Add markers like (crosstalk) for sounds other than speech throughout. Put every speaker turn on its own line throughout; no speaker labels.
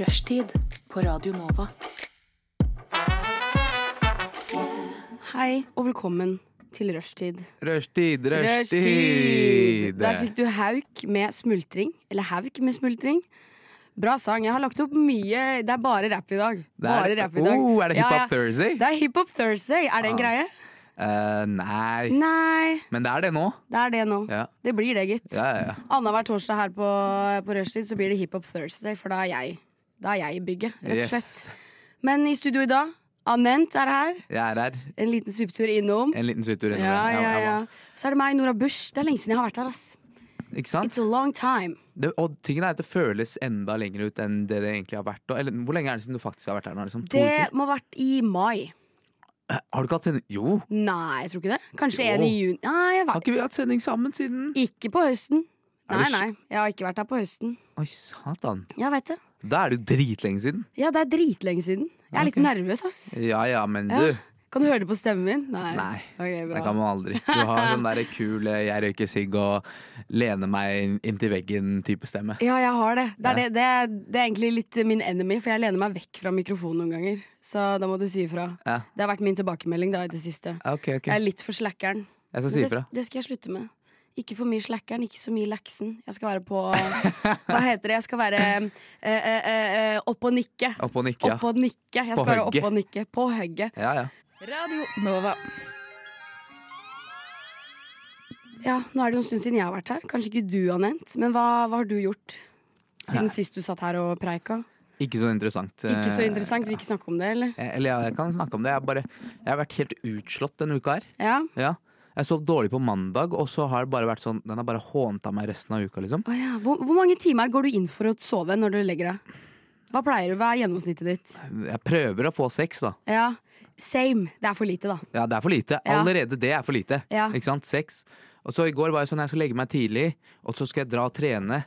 Rushtid på Radio Nova.
Hei og velkommen til rushtid.
Rushtid,
Rushtid!
rushtid!
Der fikk du Hauk med smultring. Eller Hauk med smultring. Bra sang. Jeg har lagt opp mye Det er bare rapp i dag.
Det
Bare rapp i dag.
Oh, er det
Ja,
Hiphop
ja.
Thursday?
Det er Hiphop Thursday. Er det en
Ja.
greie?
Eh, nei,
Nei,
men det er det nå.
det er det nå.
Ja,
Det blir det, gitt.
ja, ja. ja.
Annenhver torsdag her på, på rushtid så blir det Hiphop Thursday, for da er jeg, da er jeg i bygget, rett og slett.
Yes.
Men i studio i dag, Anent er her.
Jeg er her.
En liten sviptur innom.
En liten svipptur innom.
Ja,
Jeg-
ja,
jeg
ja.
var-
Så er det meg, Nora Bush. Det er lenge siden jeg har vært her. ass
Ikke sant?
It's a long time.
Det, og tingen er at det føles enda lenger ut enn det det egentlig har vært. og- Eller, hvor lenge er det siden du faktisk har vært her nå? Liksom? To
Det
uker?
må ha vært i mai.
Eh, Har du ikke hatt sending? Jo!
Nei, jeg tror ikke det. Kanskje
Jo.
en i juni. Nei, jeg
Har
var
ikke vi hatt sending sammen siden?
ikke på høsten.
Er
Nei,
du s-
nei. Jeg har ikke vært her på høsten.
Oi, satan.
Ja, vet det.
Da er det jo dritlenge siden.
Ja, det er dritlenge siden. Jeg er litt
Ok.
nervøs, ass.
Ja ja, men
Ja.
du.
Kan du høre det på stemmen min? Nei.
Nei.
Ok,
Det
bra.
kan man aldri. Du har sånn der kul eh, 'jeg røyker sigg og lener meg inn- inntil veggen'-type stemme.
Ja, jeg har det. Det er,
Ja.
det, det, er, det er egentlig litt min enemy, for jeg lener meg vekk fra mikrofonen noen ganger. Så da må du si ifra.
Ja.
Det har vært min tilbakemelding da i det siste.
Ok, ok.
Jeg er litt for slackeren.
Jeg skal si
Men Det,
ifra.
det skal jeg slutte med. Ikke for mye slackeren, ikke så mye laksen. Jeg skal være på Hva heter det? Jeg skal være eh, eh, eh, opp og nikke.
Opp og nikke, ja.
Opp og nikke. Jeg
På
skal være
hugget.
opp og nikke. På hugget.
Ja, ja.
Radio Nova.
Ja, nå er det jo en stund siden jeg har vært her. Kanskje ikke du, Anent, men hva, hva har du gjort? Siden sist du satt her og preika.
Ikke så interessant.
Ikke så
eh,
interessant. Vil ikke snakke om det, eller?
eh, Eller ja, jeg kan snakke om det. Jeg, bare, jeg har vært helt utslått denne uka her.
Ja.
Ja. Jeg sov dårlig på mandag, og så har det bare vært sånn Den har bare hånta meg resten av uka, liksom.
Å ja. hvor, hvor mange timer går du inn for å sove når du legger deg? Hva pleier du? Hva er gjennomsnittet ditt?
Jeg prøver å få sex, da.
Ja, Same. Det er for lite, da.
Ja, det er for lite.
Ja.
Allerede det er for lite.
Ja.
Ikke sant? Sex. Og så i går var jeg sånn jeg skal legge meg tidlig, og så skal jeg dra og trene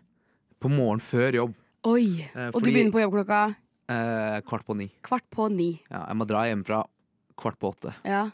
på morgenen før jobb.
Oi.
Eh,
Og du
fordi-
begynner på jobb klokka
Eh, kvart på ni.
kvart på ni.
Ja, jeg må dra hjemmefra kvart på åtte.
Ja.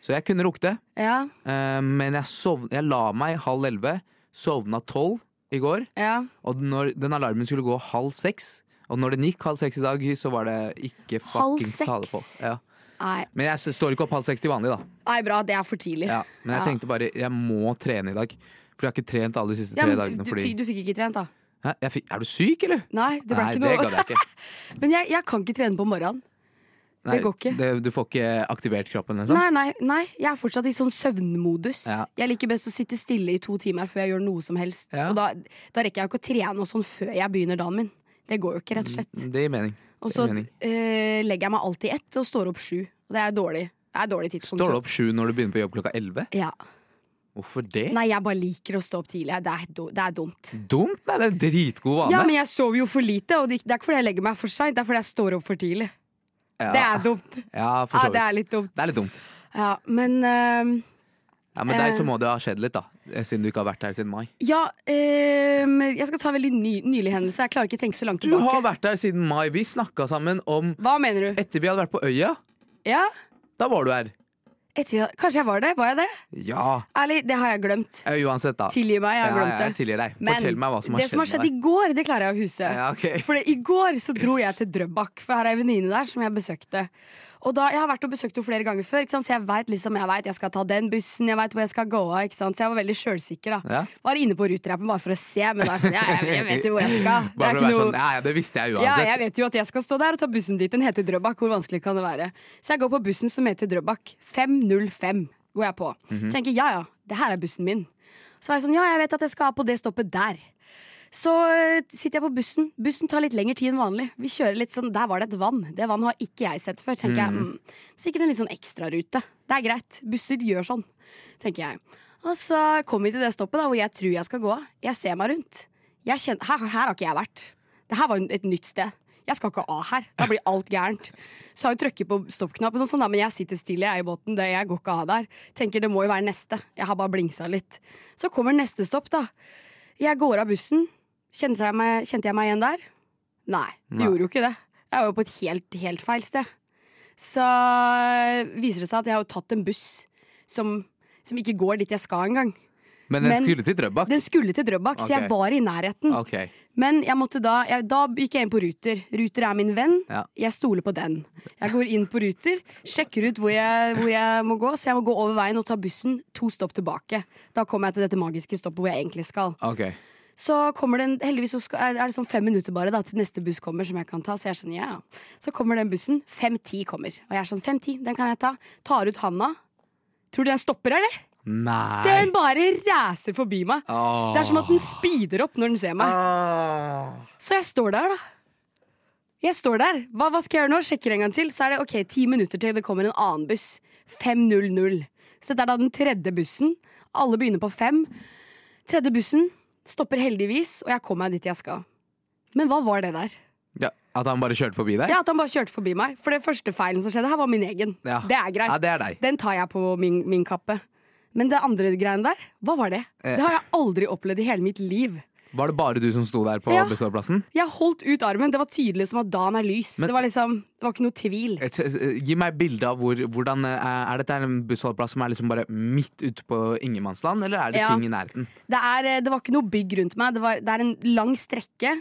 Så jeg kunne rukket det.
Ja.
Eh, men jeg, sov, jeg la meg halv elleve, sovna tolv i går.
Ja.
Og når den alarmen skulle gå halv seks, og når den gikk halv seks i dag, så var det ikke
Halv
fuckings
seks?
tale på. Ja.
Nei.
Men jeg s- står ikke opp halv seks til vanlig, da.
Nei, bra. Det er for tidlig.
Ja. Men jeg
Ja.
tenkte bare jeg må trene i dag. For jeg har ikke trent alle de siste
Ja, men
tre dagene.
du,
Fordi,
fikk- du fikk ikke trent, da?
Hæ? jeg fikk, er du syk, eller?
Nei, det ble
Nei,
ikke
det
noe.
gadd jeg
(laughs)
ikke.
Men jeg, jeg kan ikke trene på morgenen.
Nei,
går ikke.
det- du får ikke aktivert kroppen, liksom?
Nei, nei, nei, jeg er fortsatt i sånn søvnmodus.
Ja.
Jeg liker best å sitte stille i to timer før jeg gjør noe som helst.
Ja.
Og da, da rekker jeg jo ikke å trene og sånn før jeg begynner dagen min. Det går jo ikke, rett og slett.
Det gir mening.
Og
det
så
gir mening.
eh, legger jeg meg alltid ett og står opp sju. Og det er dårlig. Det er dårlig tidspunkt.
Står du opp sju når du begynner på jobb klokka elleve?
Ja.
Hvorfor det?
Nei, jeg bare liker å stå opp tidlig. Det er, do- det er dumt.
Dumt! Nei, det er en dritgod vane.
Ja, men jeg sover jo for lite, og det det er ikke fordi jeg legger meg for seint, det er fordi jeg står opp for tidlig.
Ja.
Det er dumt.
Ja, for
Ja, det
så vidt.
er litt dumt.
Det er litt dumt.
Ja, men ehm,
Ja, Men deg
Eh.
så må det ha skjedd litt, da. eh, Siden du ikke har vært her siden mai.
Ja, ehm, jeg skal ta en veldig ny, nylig hendelse. Jeg klarer ikke å tenke så langt
Du
tilbake.
har vært der siden mai. Vi snakka sammen om
Hva mener du?
Etter vi hadde vært på Øya,
Ja,
da var du her.
etter, Kanskje jeg var det? Var jeg det?
Ja.
Ærlig, det har jeg glemt.
eh, Uansett, da.
Tilgi meg, jeg har
Ja, ja, jeg
glemt det.
tilgir deg.
Men
Fortell meg hva som har
det
skjedd.
som har skjedd i
med deg.
går, det klarer jeg å huse.
ja,
(laughs)
ok.
For det- i går så dro jeg til Drøbak, for her er en venninne der som jeg besøkte. Og da, Jeg har vært og besøkt henne flere ganger før, ikke sant? så jeg veit liksom, jeg, vet, jeg skal ta den bussen, jeg veit hvor jeg skal gå av. ikke sant? Så jeg var veldig sjølsikker. da.
Ja.
Var inne på Ruterappen bare for å se, men da er det sånn, ja, jeg, jeg vet jo hvor jeg skal.
(laughs)
Det
Bare
er
for å
ikke
være
noe...
sånn, ja, ja, det visste jeg
Ja,
uansett.
jeg vet jo at jeg skal stå der og ta bussen dit. Den heter Drøbak. Hvor vanskelig kan det være? Så jeg går på bussen som heter Drøbak. 505 går jeg på. Tenker ja ja, det her er bussen min. Så var jeg sånn, ja, jeg vet at jeg skal av på det stoppet der. Så eh, sitter jeg på bussen. Bussen tar litt lengre tid enn vanlig. Vi kjører litt sånn, Der var det et vann. Det vannet har ikke jeg sett før. tenker jeg, mm, Sikkert en litt sånn ekstrarute. Det er greit. Busser gjør sånn, tenker jeg. Og så kommer vi til det stoppet da, hvor jeg tror jeg skal gå av. Jeg ser meg rundt. Jeg kjenner, her, her har ikke jeg vært. Det her var jo et nytt sted. Jeg skal ikke av her. Da blir alt gærent. Så har hun trykket på stoppknappen, og sånn, da, men jeg sitter stille jeg er i båten. Det, jeg går ikke av der. Tenker det må jo være neste. Jeg har bare blingsa litt. Så kommer neste stopp, da. Jeg går av bussen. Kjente jeg meg, kjente jeg meg igjen der? Nei, det
Nei.
gjorde jo ikke det. Jeg var jo på et helt, helt feil sted. Så eh, viser det seg at jeg har jo tatt en buss som, som ikke går dit jeg skal engang.
Men den
Men-
skulle til Drøbak?
Den skulle til Drøbak, så jeg
Ok.
var i nærheten.
Ok.
Men jeg måtte da, jeg, da gikk jeg inn på Ruter. Ruter er min venn.
Ja.
Jeg stoler på den. Jeg går inn på Ruter, sjekker ut hvor jeg, hvor jeg må gå, så jeg må gå over veien og ta bussen to stopp tilbake. Da kommer jeg til dette magiske stoppet hvor jeg egentlig skal.
ok.
Så kommer det en, heldigvis så skal, er- er det sånn fem minutter bare da, til neste buss kommer, som jeg kan ta. Så jeg er sånn, ja. Så kommer den bussen. 5.10 kommer. Og jeg er sånn, 5.10, den kan jeg ta. Tar ut handa. Tror du den stopper, eller?
Nei.
Den bare racer forbi meg.
Åh.
Det er som at den speeder opp når den ser meg. Så jeg står der, da. Jeg står der. Hva, hva skal jeg gjøre nå? Sjekker en gang til. Så er det ok, ti minutter til det kommer en annen buss. 5.00. Så dette er da den tredje bussen. Alle begynner på fem. Tredje bussen stopper heldigvis, og jeg kommer meg dit jeg skal. Men hva var det der?
Ja, at han bare kjørte forbi deg?
Ja, At han bare kjørte forbi meg. For det første feilen som skjedde her, var min egen.
Ja.
Det er greit.
Ja, det er deg.
Den tar jeg på min, min kappe. Men det andre greiene der, hva var det?
Eh.
Det har jeg aldri opplevd i hele mitt liv.
Var det bare du som sto der på
Ja.
beståplassen?
Jeg holdt ut armen. Det var tydelig som at dagen er lys.
Men-
det, var liksom, det var ikke noe tvil.
Et- et- Gi meg et bilde av hvor, hvordan eh, Er dette en bussholdeplass som er liksom bare midt ute på ingenmannsland, eller er det
Ja.
ting i nærheten?
Det, er, eh, det var ikke noe bygg rundt meg. Det, var, det er en lang strekke.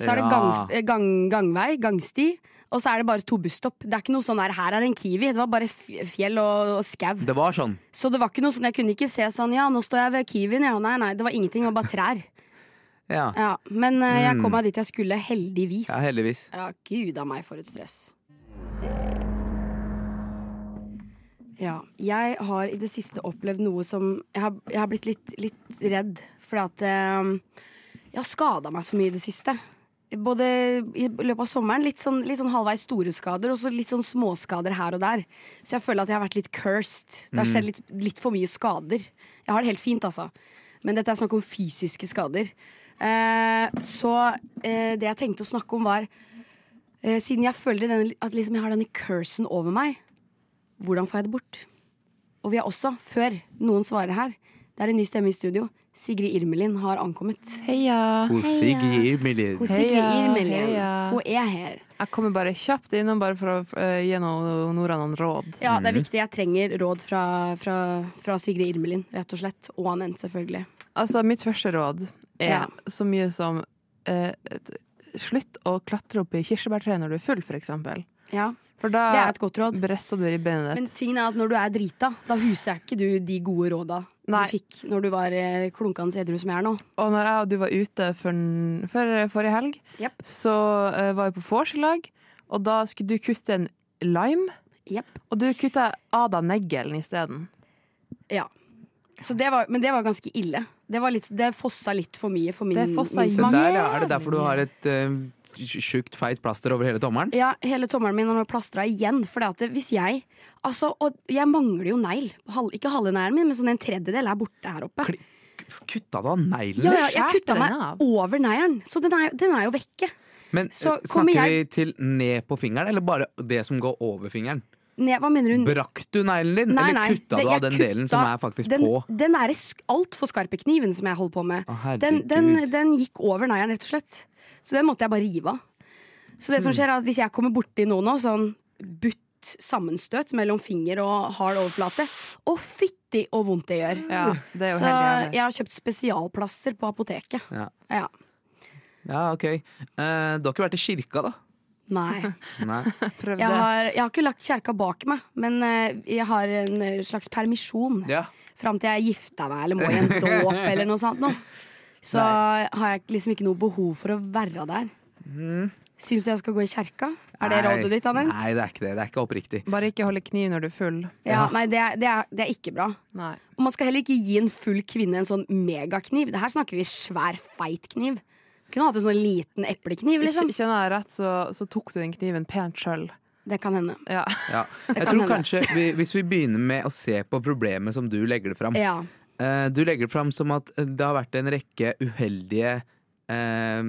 Så er det gang,
Ja.
eh, gang, gangvei, gangsti. Og så er det bare to busstopp. Det er ikke noe sånn her, her er en Kiwi. Det var bare f- fjell og, og skau.
Det var sånn.
Så det var ikke noe sånn, jeg kunne ikke se sånn Ja, nå står jeg ved Kiwien. Ja, nei, nei. Det var ingenting. Det var bare trær.
Ja,
Ja, men eh, jeg kom meg dit jeg skulle, heldigvis.
Mm. ja heldigvis.
Ja, gud a meg for et stress. Ja, jeg har i det siste opplevd noe som Jeg har, jeg har blitt litt, litt redd. Fordi at eh, jeg har skada meg så mye i det siste. Både i løpet av sommeren, litt sånn, litt sånn halvveis store skader, og så litt sånn småskader her og der. Så jeg føler at jeg har vært litt cursed. Det har skjedd litt, litt for mye skader. Jeg har det helt fint, altså. Men dette er snakk om fysiske skader. Eh, så eh, det jeg tenkte å snakke om, var Eh, siden jeg føler denne, at liksom jeg har denne cursen over meg, hvordan får jeg det bort? Og vi har også, før noen svarer her, det er en ny stemme i studio. Sigrid Irmelin har ankommet.
Heia.
Hos Sigrid Millie.
Hun Sigrid
Heia,
Irmelin,
heia.
hun er her.
Jeg kommer bare kjapt innom bare for å eh, gi noe- Nora noen råd.
Ja, det er viktig. Jeg trenger råd fra, fra, fra Sigrid Irmelin, rett og slett. Og Anent, selvfølgelig.
Altså, mitt første råd er
Ja.
så mye som eh, et- Slutt å klatre opp i kirsebærtreet når du er full, for eksempel.
Ja,
For
det er
da
et godt råd.
brister du ribbeinet
Men
ditt.
tingen er at når du er drita, da huser ikke du de gode råda du
Nei.
fikk når du var eh, klunkende edru som jeg er nå.
Og når jeg og du var ute for, for forrige helg,
Jepp.
så eh, var vi på vors i lag, og da skulle du kutte en lime,
Jepp.
og du kutta av deg neglen isteden.
Så det var, men det var ganske ille. Det, var litt, det fossa litt for mye for min,
Det fossa
min
i-
Se der, ja. Er det derfor du har et eh, tjukt, feit plaster over hele tommelen?
Ja, hele tommelen min har plastra igjen. For at det- hvis jeg Altså, og jeg mangler jo negl. Halv- Ikke halve neglen min, men sånn en tredjedel er borte her oppe.
Kli- Kutta du av neglene?
Ja, ja, jeg
skjært
kutta
den
meg
av.
over neglen, så den er, den er jo vekke.
Men
Så
eh,
kommer
snakker vi til ned på fingeren, eller bare det som går over fingeren?
Ned, hva mener hun?
Brakk du neglen din,
Nei,
eller
nei,
kutta
det-
du
jeg
av den delen som
kutta-
er faktisk
den,
på? Ah.
Den derre altfor skarpe kniven som jeg holder på med,
Å,
den, den,
herregud.
den gikk over neieren, rett og slett. Så den måtte jeg bare rive av. Så det som skjer, er at hvis jeg kommer borti noe nå, sånn butt sammenstøt mellom finger og hard overflate, å fytti og vondt det gjør.
Ja, det er jo
Så
helt jævlig.
jeg har kjøpt spesialplasser på apoteket.
Ja.
Ja.
Ja, ok. Eh, du har ikke vært i kirka, da?
(laughs)
Nei. (laughs)
Nei.
Prøv
Jeg
det.
har, jeg har ikke lagt kjerka bak meg, men eh, jeg har en eh, slags permisjon.
Ja.
fram til jeg gifta meg eller må i en dåp eller noe sånt. Nå. Så har jeg liksom ikke noe behov for å være der. Syns du jeg skal gå i kjerka? Er det
Nei.
rådet ditt, Anne?
Nei, det er ikke det. Det er ikke oppriktig.
Bare ikke holde kniv når du er full.
Ja, nei det, er, det, er, det er ikke bra.
Nei.
Og man skal heller ikke gi en full kvinne en sånn megakniv. Det her snakker vi svær, feit kniv. Kunne hatt en sånn liten eplekniv, liksom.
(laughs)
Kj- Kjenner jeg rett, så, så tok du den kniven pent sjøl.
Det kan hende.
Ja.
Ja. Jeg
kan
tror
hende.
kanskje vi, Hvis vi begynner med å se på problemet som du legger det fram
Ja.
Eh, Du legger det fram som at eh, det har vært en rekke uheldige eh,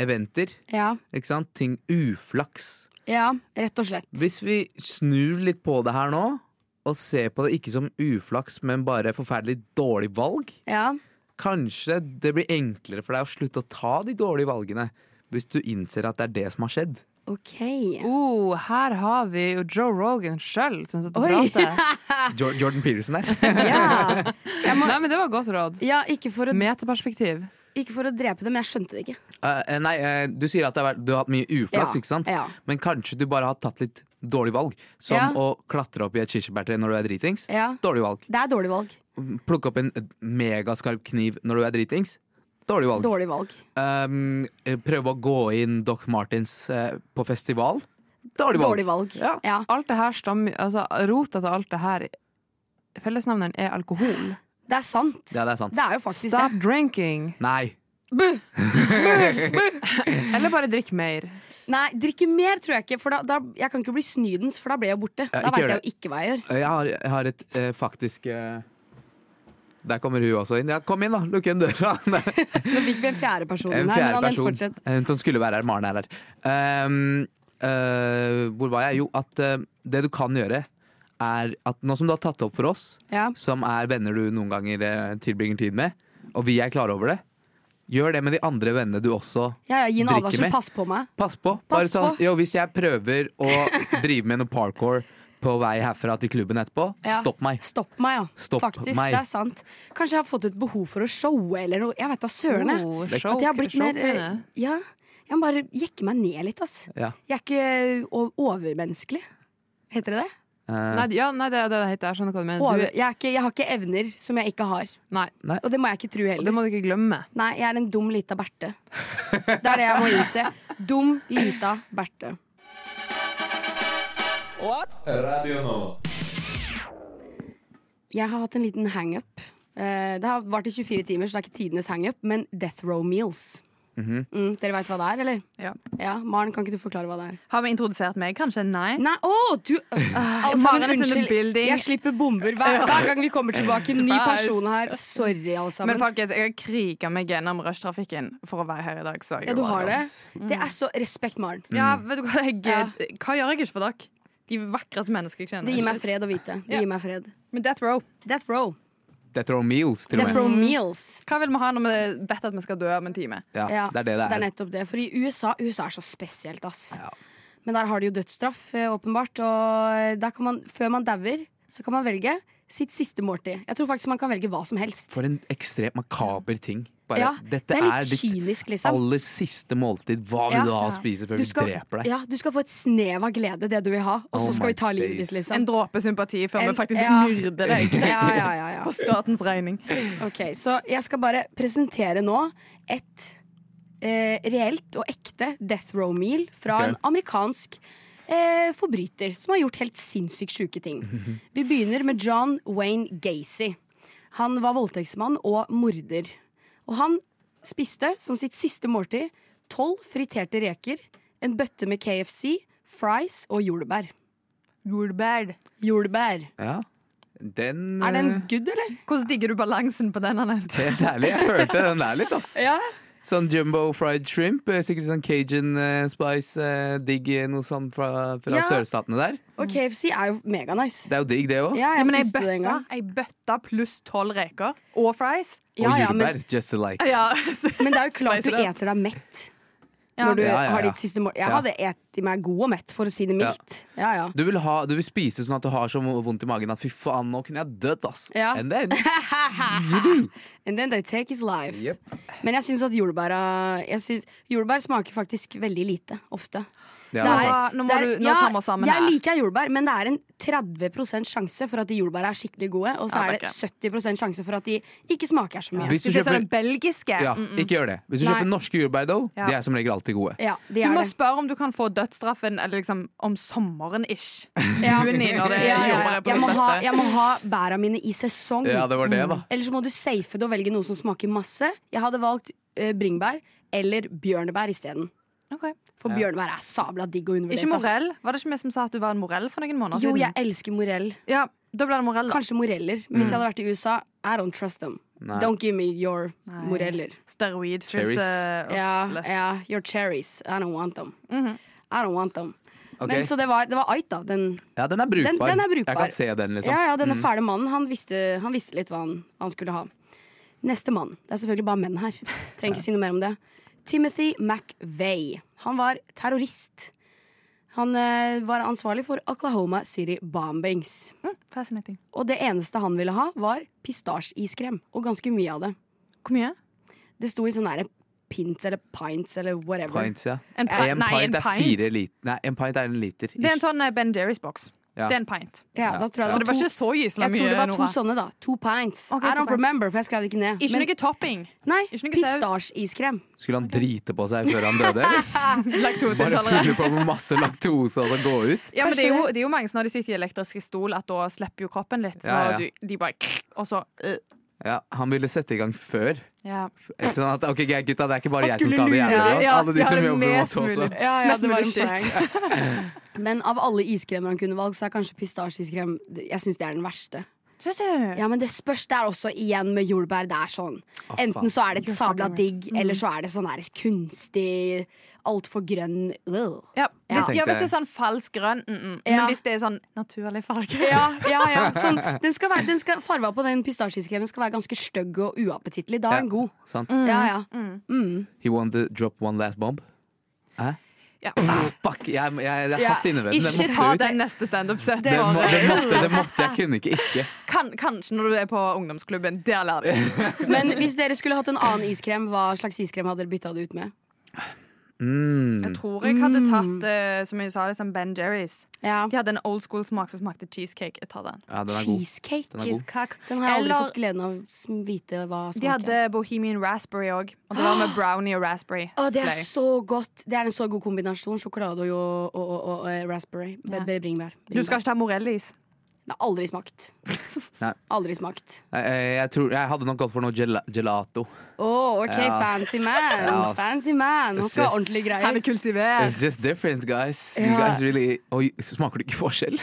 eventer.
ja.
Ikke sant? Ting uflaks.
Ja, rett og slett.
Hvis vi snur litt på det her nå, og ser på det ikke som uflaks, men bare forferdelig dårlig valg,
Ja.
kanskje det blir enklere for deg å slutte å ta de dårlige valgene hvis du innser at det er det som har skjedd.
OK.
(laughs) Oh, her har vi jo Joe Rogan sjøl som satt og
Oi.
pratet.
(laughs)
Jo- Jordan Peterson der.
Ja.
Nei, men det var et godt råd.
ja ikke, for å,
Metaperspektiv.
ikke for å drepe det, men jeg skjønte det ikke.
(laughs) Eh, eh, nei, eh, du sier at det har vært, du har hatt mye uflaks,
Ja,
ikke sant?
ja.
Men kanskje du bare har tatt litt dårlig valg. Som
Ja.
å klatre opp i et kirsebærtre når du er dritings.
Ja.
Dårlig valg.
Det er dårlig valg.
Plukke opp en megaskarp kniv når du er dritings. Dårlig valg.
Dårlig valg.
Um, eh, prøve å gå inn Doc Martens eh, på festival. Dårlig valg.
Dårlig valg.
Ja.
Ja.
Alt det her stammer Altså, rota til alt det her Fellesnevneren er alkohol.
Det er sant.
Ja, det er sant.
Det er jo faktisk
Stop drinking!
Nei.
Eller bare drikk mer.
det. Nei, drikke mer tror jeg ikke, for da, da, jeg kan ikke bli snydens, for da blir jeg borte.
Ja,
Da
ikke
veit
gjør
jeg
det.
jo ikke hva jeg gjør.
Eh, Jeg har, jeg har et eh, faktisk eh, Der kommer hun også inn. Ja, kom inn, da! Lukk igjen døra. (laughs) en
Nå fikk vi en fjerde person inn her, men
fjerde
Annel,
person.
fortsett.
Hun som skulle være her. Maren er her. Um, eh, hvor var jeg? Jo, at eh, det du kan gjøre, er at nå som du har tatt det opp for oss,
Ja.
som er venner du noen ganger eh, tilbringer tid med, og vi er klare over det, gjør det med de andre vennene du også
Ja, ja, gi en
Drikke
advarsel.
mer.
Pass på meg.
Pass på. Bare
Pass
sånn,
på.
Jo, hvis jeg prøver
(laughs)
å drive med noe parkour på vei herfra til klubben etterpå,
Ja.
stopp meg.
Stopp meg, ja.
Stopp
Faktisk,
meg.
det er sant. Kanskje jeg har fått et behov for å showe eller noe. Jeg vet da søren, jeg.
Oh,
At jeg har blitt mer eh,
showkvinne.
Ja. Jeg må bare jekke meg ned litt, ass.
Ja.
Jeg er ikke o- overmenneskelig. Heter det det?
Eh,
Nei, ja, nei, det er det det heter. Jeg skjønner hva du mener.
Over,
Du, er-
jeg, er ikke, jeg har ikke evner som jeg ikke har.
nei,
Og det må jeg ikke tro
og det
heller.
må du ikke glemme.
Nei, jeg er en dum lita berte. Det er det jeg må innse. Dum lita berte.
Radio Nova.
Jeg har hatt en liten hangup. Eh, Det har vart i 24 timer, så det er ikke tidenes hangup, men Death Row Meals.
Mhm.
mm, dere veit hva det er, eller?
Ja.
Maren, kan ikke du forklare hva det er?
Har vi introdusert meg? Kanskje nei?
Nei, å, du altså,
Maren
men
is in the building.
jeg slipper bomber hver, hver gang vi kommer tilbake. Ny
Surprise.
person her. Sorry, alle sammen.
Men folkens, jeg har kriga meg gjennom rushtrafikken for å være her i dag. Så jeg
ja, du
var
har det?
der.
Det er så Respekt, Maren.
Ja, vet du hva, jeg, eh,
Ja.
hva gjør jeg ikke for dere? De vakreste menneskene jeg kjenner.
Det gir meg fred å vite. Det
Ja.
gir meg fred.
Men Death Row,
Death Row.
Death Row Meals, til og
Death
med.
Row Meals.
hva vil vi ha når vi vet at vi skal dø om en time?
Ja,
Ja,
det er det det er.
nettopp det. For i USA USA er så spesielt, ass.
Ja.
Men der har de jo dødsstraff, eh, åpenbart. Og der kan man, før man dauer, så kan man velge sitt siste måltid. Jeg tror faktisk man kan velge hva som helst.
For en ekstremt makaber ting. Bare,
Ja,
dette
det er litt
ditt
kynisk, liksom.
aller siste måltid. Hva
Ja.
vil du ha å spise
Du
før vi
skal,
dreper deg?
ja, du skal få et snev av glede, det du vil ha, og så
Oh
skal vi
my
ta livet
days.
ditt, liksom.
En dråpe sympati før
En-
vi faktisk
ja.
myrder deg.
(laughs) Ja, ja, ja, ja.
På statens regning.
Ok, Så jeg skal bare presentere nå et eh, reelt og ekte death row meal fra
Ok.
en amerikansk eh, forbryter som har gjort helt sinnssykt sjuke ting.
(laughs)
Vi begynner med John Wayne Gacy. Han var voldtektsmann og morder. Og han spiste som sitt siste måltid tolv friterte reker, en bøtte med KFC, fries og jordbær.
Jordbær.
Jordbær.
Ja. Den
Er den
eh,
good, eller?
Hvordan digger du balansen på den? Anette?
Helt ærlig, jeg følte den der litt, ass.
Ja.
Sånn jumbo fried shrimp. eh, Sikkert sånn cajun eh, spice, eh, digg eh, noe sånn fra, fra
Ja.
sørstatene der.
Og KFC er jo meganice.
Det er jo digg, det òg.
Ja,
Ja,
jeg
men ei
spiste det en
bøtte,
gang.
ei bøtte pluss tolv reker og fries.
Ja,
og
ja, men-
jordbær, just alike.
Ja,
Men det er jo
(laughs)
klart
Spice
du
it up.
eter deg mett
Ja.
når du
Ja, ja,
har
ja.
ditt siste mål. Jeg
Ja.
hadde et i meg god og mett, for å si det mildt. Ja, ja.
Du vil, ha, du vil spise sånn at du har så vondt i magen at fy faen, nå kunne jeg dødd, ass.
Ja.
And
(laughs)
then,
And then they take his life.
Jep.
Men jeg syns at jordbæra jeg synes, Jordbær smaker faktisk veldig lite, ofte.
Ja, altså.
Det
sant.
Ja, nå må
det
du- nå tar vi oss sammen
jeg
her.
liker jordbær, men det er en 30 sjanse for at de jordbæra er skikkelig gode, og så
Ja,
er
det er
det 70 sjanse for at de ikke smaker så mye.
Hvis du
Hvis det er
kjøper-
sånn belgiske
ja, ikke gjør det. Hvis du
Nei.
kjøper norske jordbær, though,
Ja.
de er som regel alltid gode.
Ja, de
Du
er
må
det.
spørre om du kan få dødsstraffen eller liksom, om (laughs) sommeren-ish.
Ja.
Juni, når det
Ja, ja,
jobber
ja.
på
Jeg
sitt
må ha,
beste.
jeg må ha bæra mine i sesong.
Ja, det var det, da.
Eller så må du safe det og velge noe som smaker masse. Jeg hadde valgt eh, bringebær eller bjørnebær isteden.
Ok.
For bjørnebær er sabla digg og undervurdert.
Ikke
ass.
morell? Var det ikke vi som sa at du var en morell for noen måneder
Jo,
siden?
jeg elsker morell.
Ja, da ble det morell, da.
Kanskje moreller. Men hvis jeg hadde vært i USA, I don't trust them.
Nei.
Don't give me your
Nei. eh,
moreller.
Steroidfylte
Cherries.
uff,
Ja,
bless. Mhm.
ja, your cherries. I don't want them. I don't want them.
Ok.
Men så det var, det var Ait, da. Den,
Ja, den er brukbar.
Den- den er brukbar.
Jeg kan se den, liksom.
ja, ja, denne fæle mannen, han visste, han visste litt hva han, hva han skulle ha. Neste mann. Det er selvfølgelig bare menn her. Trenger ikke si noe mer om det. Timothy McVeigh. Han var terrorist. Han eh, var ansvarlig for Oklahoma City bombings.
Mm, Fascinating.
Og det eneste han ville ha, var pistasjeiskrem. Og ganske mye av det.
Hvor mye?
Det sto i sånn derre pints eller pints eller whatever.
Pints, ja.
En pi-
en
nei,
pint
en
er
pint.
fire liter. Nei, en pint er en liter.
Det er en sånn eh, Ben Jerry's-boks.
Ja.
Det er en pint.
Ja, da tror jeg
Så det var
to-
ikke så gysla
jeg
mye.
tror det var to
Nora.
sånne, da. To pints.
Ok,
I
to
don't
pints.
remember, for jeg skrev det ikke ned.
Ikke
Men-
noe (laughs) topping.
nei,
ikke noe saus.
pistasjeiskrem.
Skulle han drite på seg før han døde? eller?
(laughs)
Bare
Laktoseintolerant.
fylle på med masse laktose og så gå ut?
Ja, men det
Kanskje
er, jo, det er jo mange som når de sitter i elektriske stol, at da slipper jo kroppen litt. Så
Ja, ja.
Du, de bare Og så øh.
Ja, Han ville sette i gang før.
ja.
Sånn at, ok, gutta, Det er ikke bare jeg som
skulle
skal ha det jævlig
lure-
godt.
Ja,
Alle de
ja,
som
det
jobber med oss
mest mulig.
også.
Ja, ja,
Mest
det var
mulig
en
shit.
prank.
Men av alle iskremer han kunne valgt, så er kanskje pistasjeiskrem Jeg synes det er den verste.
(laughs) Syns du?
Ja, men det spørs der også igjen med jordbær. Det er sånn. Enten
Ah, faen.
så er det et sabla digg, eller så er det sånn her kunstig, altfor grønn Ugh.
Ja. Hvis,
Jeg
ja, hvis
tenkte-
det er sånn falsk grønn, mm -mm.
Ja.
men hvis det er sånn naturlig (laughs) farge
Ja, ja, ja. Sånn, den skal være, den skal, farva på den pistasjeiskremen skal være ganske stygg og uappetittlig. Da
Ja,
er den god.
sant?
Mm.
Mm. Ja, ja.
He wanted to drop one last bomb. Hæ?
Ja.
Ah, fuck, jeg, jeg, jeg satt inne ved den. Den
Ikke
måtte
ta
ut.
den neste standup-set.
Det, må, det, måtte, det måtte, jeg kunne ikke ikke.
Kan, kanskje når du er på ungdomsklubben. Der (laughs) lærer du.
Men hvis dere skulle hatt en annen iskrem, hva slags iskrem hadde dere bytta det ut med?
Jeg
Mm.
tror jeg hadde tatt eh, som jeg sa, liksom Ben Jerry's.
Ja.
De hadde en old school smak som smakte cheesecake. Jeg tar den.
Ja, den er god.
Cheesecake.
Den er god.
Den har jeg aldri
Eller-
fått gleden av å sm- vite hva
De
smaker.
hadde Bohemian Raspberry òg. Og det var (gasps) med brownie og raspberry.
Å, det er
Slay.
så godt! Det er en så god kombinasjon. Sjokolade og, og, og, og, og raspberry. Be-
Ja.
be- Bringebær.
Du skal ikke ta Morellis.
Det har aldri smakt.
Nei.
Aldri smakt.
Jeg, jeg, jeg, tror, jeg hadde nok gått for noe gela, gelato.
Å, OK,
Ja.
fancy man!
Ja.
Fancy man! Nå skal
Yes, yes.
ha ordentlige
Han
greier.
er kultivert.
It's just different, guys. You
Ja.
guys really Oi, smaker du ikke
(laughs)
forskjell?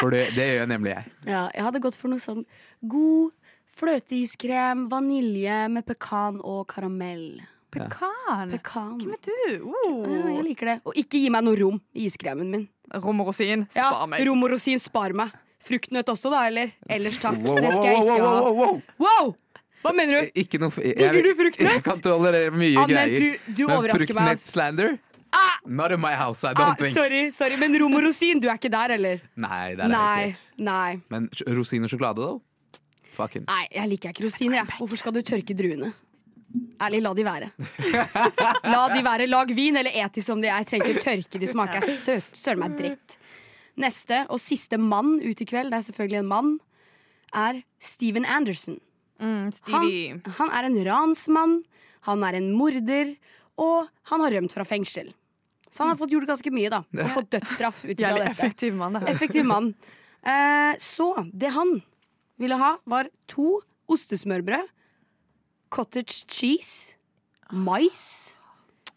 For det, det gjør nemlig jeg.
Ja, jeg hadde gått for noe sånn god fløteiskrem, vanilje med pekan og karamell.
Mm.
Pekan.
Pekan.
Hvem er du? Oh.
Ja, jeg liker det. Og ikke gi meg noe rom i iskremen min.
Rom og rosin.
Ja,
Spar meg.
Rom og rosin, spar meg. Fruktnøtt også, da, eller? Ellers takk.
Wow,
Det
wow,
skal jeg
wow,
ikke
wow,
ha.
wow, wow.
Wow! Hva mener du?
Ikke noe f- jeg,
Digger du
jeg,
fruktnøtt?
kan tolerere mye
Ja, men
greier.
du- du overrasker meg, ass.
fruktnett-slander? Not in my house, I don't
Ah,
think.
sorry, sorry, men rom og rosin, du er ikke der, eller?
Nei, det er
Nei.
jeg ikke.
Nei.
Men sj- rosin og sjokolade, da? Fucking.
Nei, jeg liker ikke rosiner, jeg. Hvorfor skal du tørke druene? Ærlig, la de
(laughs)
være. La de være. Lag vin eller et de som de er. Trenger ikke tørke, de smaker er søt. Søren meg dritt. Neste og siste mann ut i kveld, det er selvfølgelig en mann, er Steven Anderson.
Mm,
Han,
Stevie.
han er en ransmann, han er en morder, og han har rømt fra fengsel. Så han har fått gjort ganske mye, da. Og fått dødsstraff ut ifra
Jævlig
dette.
effektiv mann, det her.
Effektiv mann. Eh, så det han ville ha, var to ostesmørbrød, cottage cheese, mais,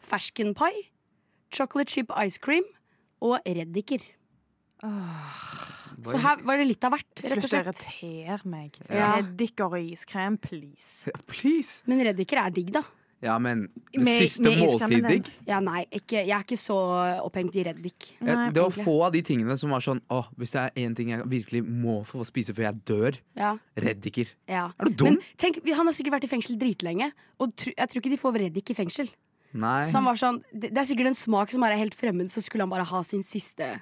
ferskenpai, chocolate chip ice cream og reddiker. Så her var det litt av hvert, rett og
Slutt å
slett.
irritere meg.
Ja.
Reddiker og iskrem, please.
Please!
Men reddiker er digg, da.
Ja, men det
Med-
siste
med
måltid,
iskremen,
digg.
Ja, nei, ikke, jeg er ikke så opphengt i reddik.
Ja,
Nei,
Det var
egentlig.
få av de tingene som var sånn Åh, hvis det er én ting jeg virkelig må få spise før jeg dør,
Ja,
reddiker.
ja.
Er du dum?
Men tenk, vi- han har sikkert vært i fengsel dritlenge, og tr jeg tror ikke de får reddik i fengsel.
Nei.
Så han var sånn, det, det er sikkert en smak som er helt fremmed, så skulle han bare ha sin siste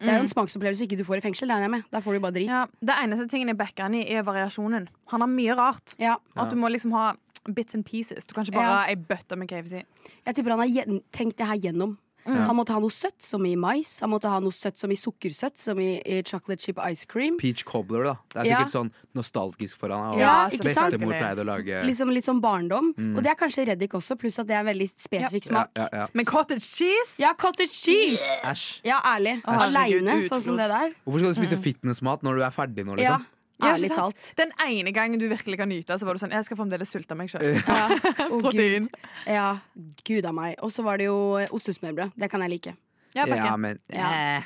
Det er jo en smaksopplevelse ikke du får i fengsel, det regner jeg med. Der får du bare drit.
Mm. Ja, det eneste tingen jeg backer han i, er variasjonen. Han har mye rart.
Ja.
Og At du må liksom ha bits and pieces. Du kan ikke bare
Ja.
ha ei bøtte med KFC.
Jeg tipper han har gjen- tenkt det her gjennom.
Mm.
Han måtte ha noe søtt, som i mais. Han måtte ha noe søtt som i sukkersøtt, som i, i chocolate chip ice cream.
Peach cobbler, da. Det er
Ja.
sikkert sånn nostalgisk for han. og
Ja, ikke sant?
altså, Bestemor pleide å lage
Liksom Litt sånn barndom.
Mm.
Og det er kanskje reddik også, pluss at det er en veldig spesifikk
ja,
smak.
ja, ja.
Men cottage cheese?
Ja, cottage cheese!
Æsj.
Ja, ærlig.
Å, herregud,
Aleine, sånn
utflod.
som det der.
Hvorfor skal du spise fitnessmat når du er ferdig nå,
Mm. Ja,
liksom?
Ja,
ærlig
ikke sant?
talt.
Den ene gangen du virkelig kan nyte, så var du sånn Jeg skal fremdeles sulte meg sjøl.
(laughs)
Ja. Å,
(laughs) Protein.
Gud. Ja, gud a meg. Og så var det jo ostesmørbrød. Det kan jeg like.
Ja, backer.
Ja, men
Ja.
eh,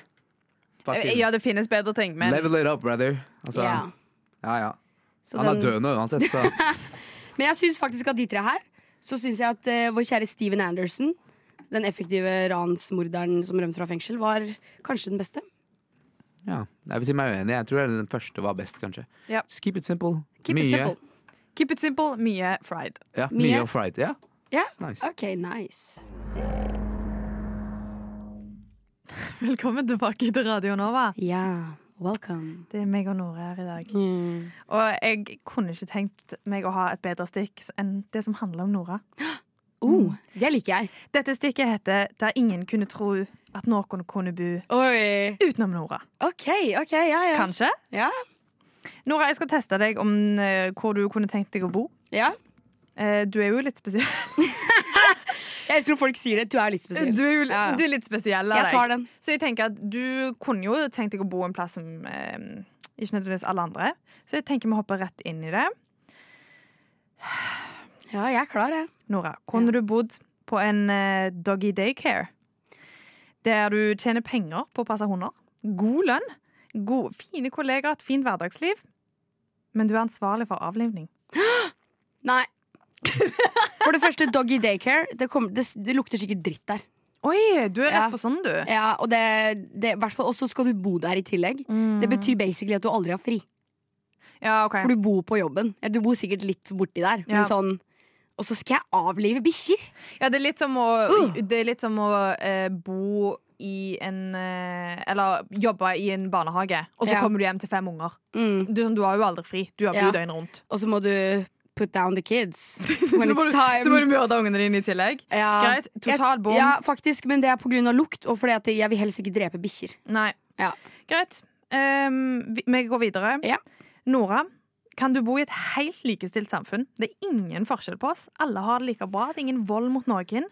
fucking
ja, det finnes bedre ting, men
Level it up, brother. Altså,
Ja.
ja, ja.
Så
Han er
den-
død nå uansett, så
(laughs) Men jeg syns faktisk at de tre her Så syns jeg at eh, vår kjære Steven Anderson, den effektive ransmorderen som rømte fra fengsel, var kanskje den beste.
ja. Jeg vil si meg uenig. Jeg tror den første var best, kanskje.
Ja.
Just keep it simple.
Keep it
mye.
simple.
keep it simple. Mye fried.
Ja, mye.
Mye.
og fried. Ja,
Ja,
nice.
OK, nice.
Velkommen tilbake til Radio Nova.
Ja, welcome.
Det er meg og Nora her i dag.
Mm.
Og jeg kunne ikke tenkt meg å ha et bedre stikk enn det som handler om Nora.
Mm.
Oh, det liker jeg.
Dette stikket heter 'Der ingen kunne tro at noen kunne bo
Oi.
utenom Nora'.
OK, ok, ja, ja.
Kanskje?
Ja.
Nora, jeg skal teste deg om eh, hvor du kunne tenkt deg å bo.
ja.
Eh, du er jo litt spesiell.
Jeg tror folk sier det. Du er litt spesiell.
Du er, jo,
Ja, ja.
du er litt spesiell av
Jeg tar den.
Så jeg tenker at du kunne jo tenkt deg å bo en plass som eh, ikke nødvendigvis alle andre. Så jeg tenker vi hopper rett inn i det.
Ja, jeg er klar, jeg.
Nora, kunne du bodd på en eh, doggy daycare? Der du tjener penger på å passe hunder. God lønn. God, fine kollegaer, et fint hverdagsliv. Men du er ansvarlig for avlivning.
Nei.
(laughs)
For det første, doggy daycare. Det, kommer- det, det lukter sikkert dritt der.
Oi, du er
Ja.
sånn, du.
Ja, Og det, det, hvert fall- og så skal du bo der i tillegg. Det betyr basically at du aldri har fri.
Mm. Ja, ok.
For du bor på jobben. Eller, Du bor sikkert litt borti der.
Ja.
Men sånn Og så skal jeg avlive bikkjer!
Ja, det er litt som å, det er litt som å eh, bo i en eh, Eller jobbe i en barnehage, og så
Ja.
kommer du hjem til fem unger.
Mm.
Du, du har jo aldri fri. Du jobber
Ja.
jo døgnet rundt.
Og så må du put down the kids
(laughs)
when
Så må
it's
du-
time.
Så må du møte ungene dine i tillegg.
ja.
Greit. Total bom.
Jeg- Ja, faktisk, men det er pga. lukt, og fordi at jeg vil helst ikke drepe bikkjer.
Nei.
Ja.
Greit. Ehm, vi, vi går videre.
Ja.
Nora, kan du bo i et helt likestilt samfunn? Det er ingen forskjell på oss. Alle har det like bra. Det er ingen vold mot noen.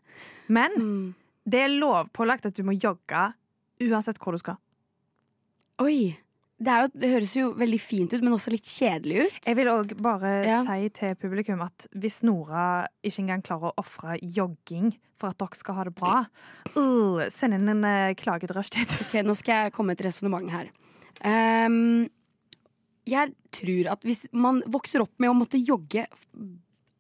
Men det er lovpålagt at du må jogge uansett hvor du skal.
Oi. Det, er jo, det høres jo veldig fint ut, men også litt kjedelig ut.
Jeg vil òg bare
Ja.
si til publikum at hvis Nora ikke engang klarer å ofre jogging for at dere skal ha det bra, uh, send inn en eh, klage til rushtid.
Ok, Nå skal jeg komme med et resonnement her. Ehm, jeg tror at hvis man vokser opp med å måtte jogge f-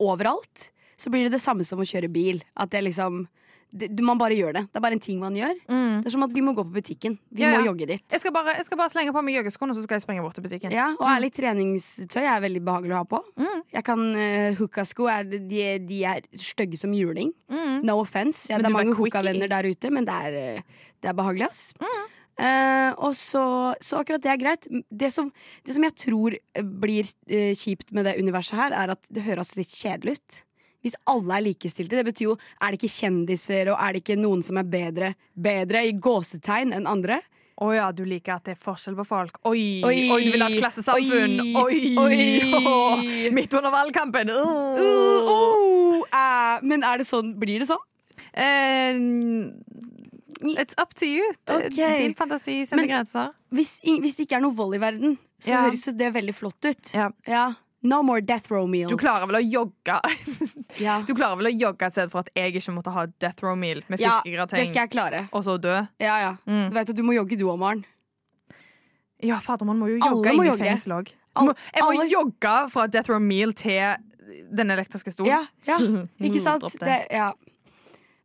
overalt, så blir det det samme som å kjøre bil. At det liksom det, du- Man bare gjør det. Det er bare en ting man gjør. Det er som at vi må gå på butikken. Vi
Ja,
må
ja.
jogge dit.
Mm. Jeg skal, bare, jeg skal bare slenge på meg joggeskoene, og så skal Mm. jeg springe bort til butikken.
Ja, og ærlig treningstøy er veldig behagelig å ha på. Jeg kan uh, Hooka-sko er, de, de er stygge som juling.
Mm.
No offense. Ja,
Men
det er
du var
mange
quickie.
hooka-venner der ute, men det er, eh, det er behagelig, ass.
Mm.
Eh, og så, så akkurat det er greit. Det som, det som jeg tror eh, blir eh, kjipt med det universet her, er at det høres litt kjedelig ut. Hvis alle er likestilte. Det betyr jo er det ikke kjendiser, og er det ikke noen som er bedre, bedre i gåsetegn enn andre?
Å ja, du liker at det er forskjell på folk. Oi, oi,
Oi.
du vil ha et klassesamfunn.
Oi.
Oi,
Oi.
(laughs) midt under valgkampen. Uh.
Oh, eh, men er det sånn, blir det sånn?
Eh, it's up to you. Det-
Ok.
Din fantasi setter
Men-
grenser.
Hvis, ing- hvis det ikke er noe vold i verden, så
Ja.
høres jo det veldig flott ut.
Ja.
No more death row meals.
Du klarer vel å jogge
ja.
(laughs) Du klarer vel å jogge et sted for at jeg ikke måtte ha death row meal med
ja, det
fiskegrateng
skal jeg klare.
og så dø?
Ja, ja.
Mm.
Du vet at du må jogge du òg, Maren.
Ja, fader, man må jo
Alle
jogge
må
inn i
jogge.
fengsel òg.
Al-
Jeg må
alle-
jogge fra death row meal til den elektriske stolen.
Ja,
(laughs)
ja.
Mm,
Ikke sant?
dropp det.
Det, ja.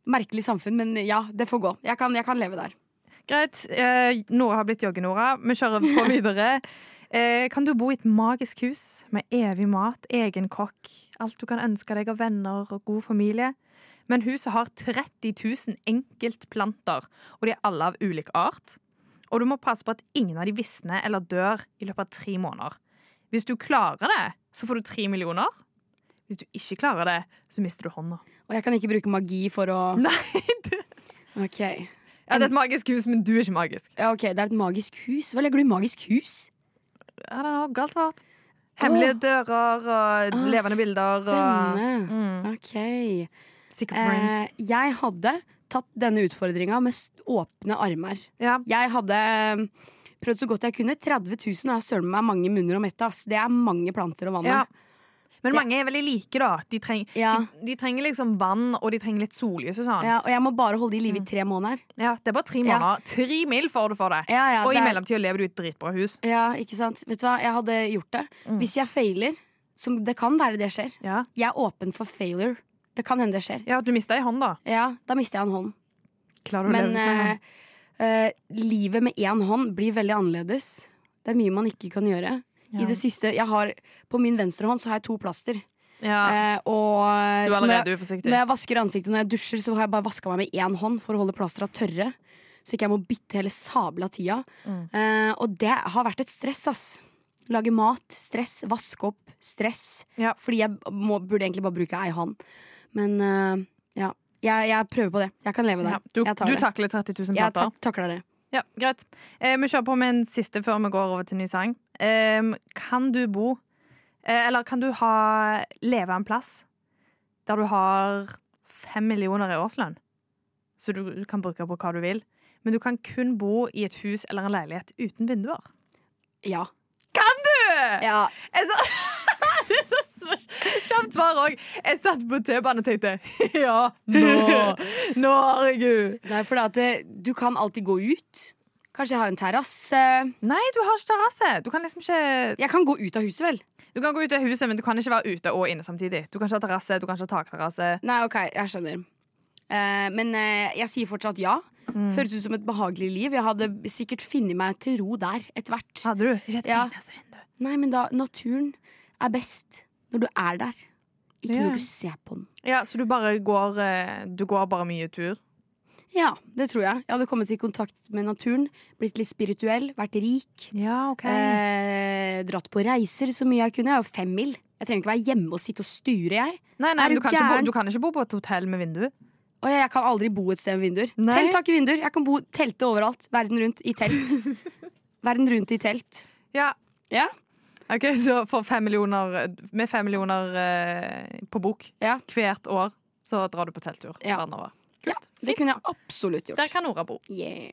Merkelig samfunn, men ja, det får gå. Jeg kan, jeg kan leve der.
Greit. Eh, Nora har blitt jogge-Nora. Vi kjører på videre. Eh, kan du bo i et magisk hus med evig mat, egen kokk, alt du kan ønske deg av venner og god familie? Men huset har 30 000 enkeltplanter, og de er alle av ulik art. Og du må passe på at ingen av de visner eller dør i løpet av tre måneder. Hvis du klarer det, så får du tre millioner. Hvis du ikke klarer det, så mister du hånda.
Og jeg kan ikke bruke magi for å
(laughs) Nei, det,
Ok,
ja, det er et magisk hus, men du er ikke magisk.
ja, ok, Det er et magisk hus. Hva legger du i magisk hus?
I don't know, galt vart. Hemmelige dører og
Ah,
levende bilder. Og,
Spennende.
mm,
Ok.
Secret
Eh,
rooms.
jeg hadde tatt denne utfordringa med s- åpne armer.
Ja.
Jeg hadde mm, prøvd så godt jeg kunne. 30 000 er søren meg mange munner å mette. Ass. Det er mange planter å vanne.
Ja. Men mange er veldig like, da. De, treng,
Ja.
de, de trenger liksom vann, og de trenger litt sollys og sånn.
Ja,
Ja.
og jeg må bare holde de i live i
Mm.
tre måneder.
det er bare tre måneder. Tre mil får du for det.
Ja, ja,
og i
det er-
mellomtida lever du i et dritbra hus.
Ja, ikke sant? Vet du hva, jeg hadde gjort det.
Mm.
Hvis jeg failer, som det kan være det skjer
Ja,
Jeg er åpen for failure. Det kan hende det skjer.
ja du mista ei hånd, da.
Ja, da mister jeg en hånd.
Klarer du å
Men
leve med hånd?
eh, eh, livet med én hånd blir veldig annerledes. Det er mye man ikke kan gjøre.
Ja.
I det siste, jeg har, På min venstre hånd så har jeg to plaster.
Ja.
Eh, og,
Du er
så når jeg-
allerede uforsiktig.
Når jeg vasker ansiktet og når jeg dusjer, så har jeg bare vaska meg med én hånd for å holde plastra tørre. så ikke jeg må bytte hele sabla tida.
Mm.
Eh, og det har vært et stress, ass. Lage mat, stress. Vaske opp, stress.
Ja.
Fordi jeg må, burde egentlig bare bruke ei hånd. Men eh, ja, jeg, jeg prøver på det. Jeg kan leve der.
Ja, du,
Jeg tar
du
det.
takler 30 000
Jeg
plater.
tak takler det.
Ja, greit. Eh, vi kjører på med en siste før vi går over til ny sang. Eh, kan du bo eh, Eller kan du ha leve en plass der du har fem millioner i årslønn, så du, du kan bruke på hva du vil, men du kan kun bo i et hus eller en leilighet uten vinduer?
Ja.
Øh!
ja.
Jeg sa (laughs) Det er så sv- kjapt svar òg. Jeg satt på T-banen og tenkte (laughs) ja, nå. Nå, herregud.
Det er fordi at eh, du kan alltid gå ut. Kanskje jeg har en terrasse.
Nei, du har ikke terrasse. Du kan liksom ikke
Jeg kan gå ut av huset, vel.
Du kan gå ut av huset, men du kan ikke være ute og inne samtidig. Du kan ikke ha terrasse, du kan ikke ha takterrasse.
Nei, ok, jeg skjønner. Eh, men eh, jeg sier fortsatt ja.
Mm.
Høres ut som et behagelig liv. Jeg hadde sikkert funnet meg til ro der etter hvert.
Hadde du? Ikke et
Ja.
eneste vindu.
Nei, men da, naturen er best når du er der. Ikke
Ja.
når du ser på den.
Ja, så du bare går eh, Du går bare mye tur.
Ja, det tror jeg. Jeg hadde kommet i kontakt med naturen, blitt litt spirituell, vært rik.
Ja, OK.
Eh, dratt på reiser så mye jeg kunne. Jeg er jo femmil. Jeg trenger ikke være hjemme og sitte og sture, jeg.
nei, nei,
er
men
du
du kan, ikke bo,
gæren?
du kan ikke bo på et hotell med vindu.
Og jeg, jeg kan aldri bo et sted med vinduer.
Nei.
Telt har ikke vinduer. Jeg kan bo telte overalt. Verden rundt i telt. (laughs) Verden rundt i telt.
Ja.
Ja.
OK, så for fem millioner Med fem millioner eh, på bok
Ja.
hvert år, så drar du på telttur
Ja.
verden over.
Ja, det kunne jeg absolutt
Der
gjort.
kan Nora bo.
Yeah.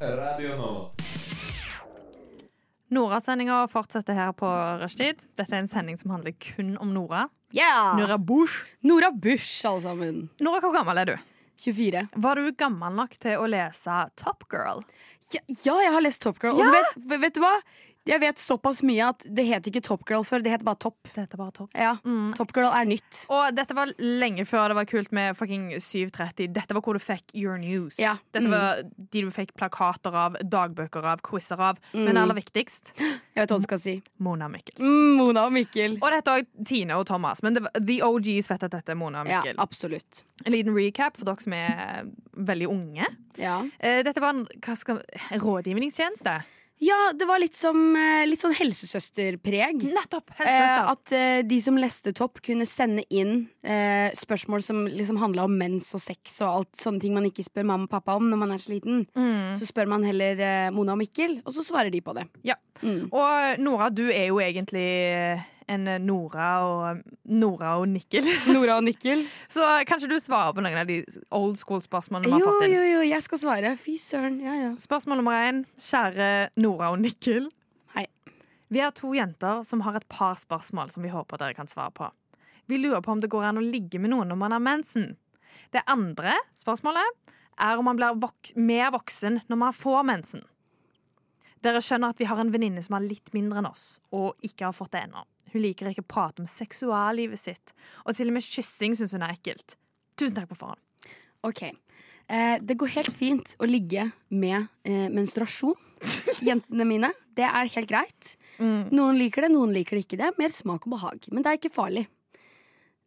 Radio Nova.
Nora-sendinga fortsetter her på rushtid. Dette er en sending som handler kun om Nora.
Yeah!
Nora Bush.
Nora Bush, alle sammen.
Nora, hvor gammel er du?
24.
Var du gammel nok til å lese Top Girl?
Ja, ja, jeg har lest Top Girl. Og du vet, vet du hva? Jeg vet såpass mye at det het ikke Top Girl før. Det het bare Topp.
Dette er bare topp.
Ja, Top Girl er nytt.
Og dette var lenge før det var kult med fucking 730. Dette var hvor du fikk Your News.
Ja.
Dette var de du fikk plakater av, dagbøker av, quizer av. Men aller viktigst
Jeg vet hva du skal si.
Mona og Mikkel.
Mm, Mona og Mikkel.
Og dette òg Tine og Thomas. Men det var, the OGs vet at dette er Mona og
Ja,
Mikkel.
absolutt.
En liten recap for dere som er eh, veldig unge.
Ja.
Eh, Dette var en hva skal, rådgivningstjeneste.
ja, det var litt, som, eh, litt sånn helsesøsterpreg.
Nettopp!
Eh,
Helsesøster.
at eh, de som leste Topp, kunne sende inn eh, spørsmål som liksom handla om mens og sex og alt sånne ting man ikke spør mamma og pappa om når man er så liten. Så spør man heller eh, Mona og Mikkel, og så svarer de på det.
Ja.
Mm.
Og Nora, du er jo egentlig eh, en Nora og, Nora og Nikkel. (laughs)
Nora og Nikkel.
Så kanskje du svarer på noen av de old school-spørsmålene vi
Jo,
har fått inn.
jo, jo, jeg skal svare. Fy søren. Ja, ja.
Spørsmål nummer én. Kjære Nora og Nikkel.
Hei.
Vi er to jenter som har et par spørsmål som vi håper dere kan svare på. Vi lurer på om det går an å ligge med noen når man har mensen. Det andre spørsmålet er om man blir vok mer voksen når man får mensen. Dere skjønner at vi har en venninne som er litt mindre enn oss, og ikke har fått det ennå. Hun liker ikke å prate om seksuallivet sitt, og til og med kyssing syns hun er ekkelt. Tusen takk på forhånd.
Ok. Eh, det går helt fint å ligge med eh, (laughs) menstruasjon. Jentene mine. Det er helt greit. Noen liker det, noen liker det ikke. det Mer smak og behag. Men det er ikke farlig.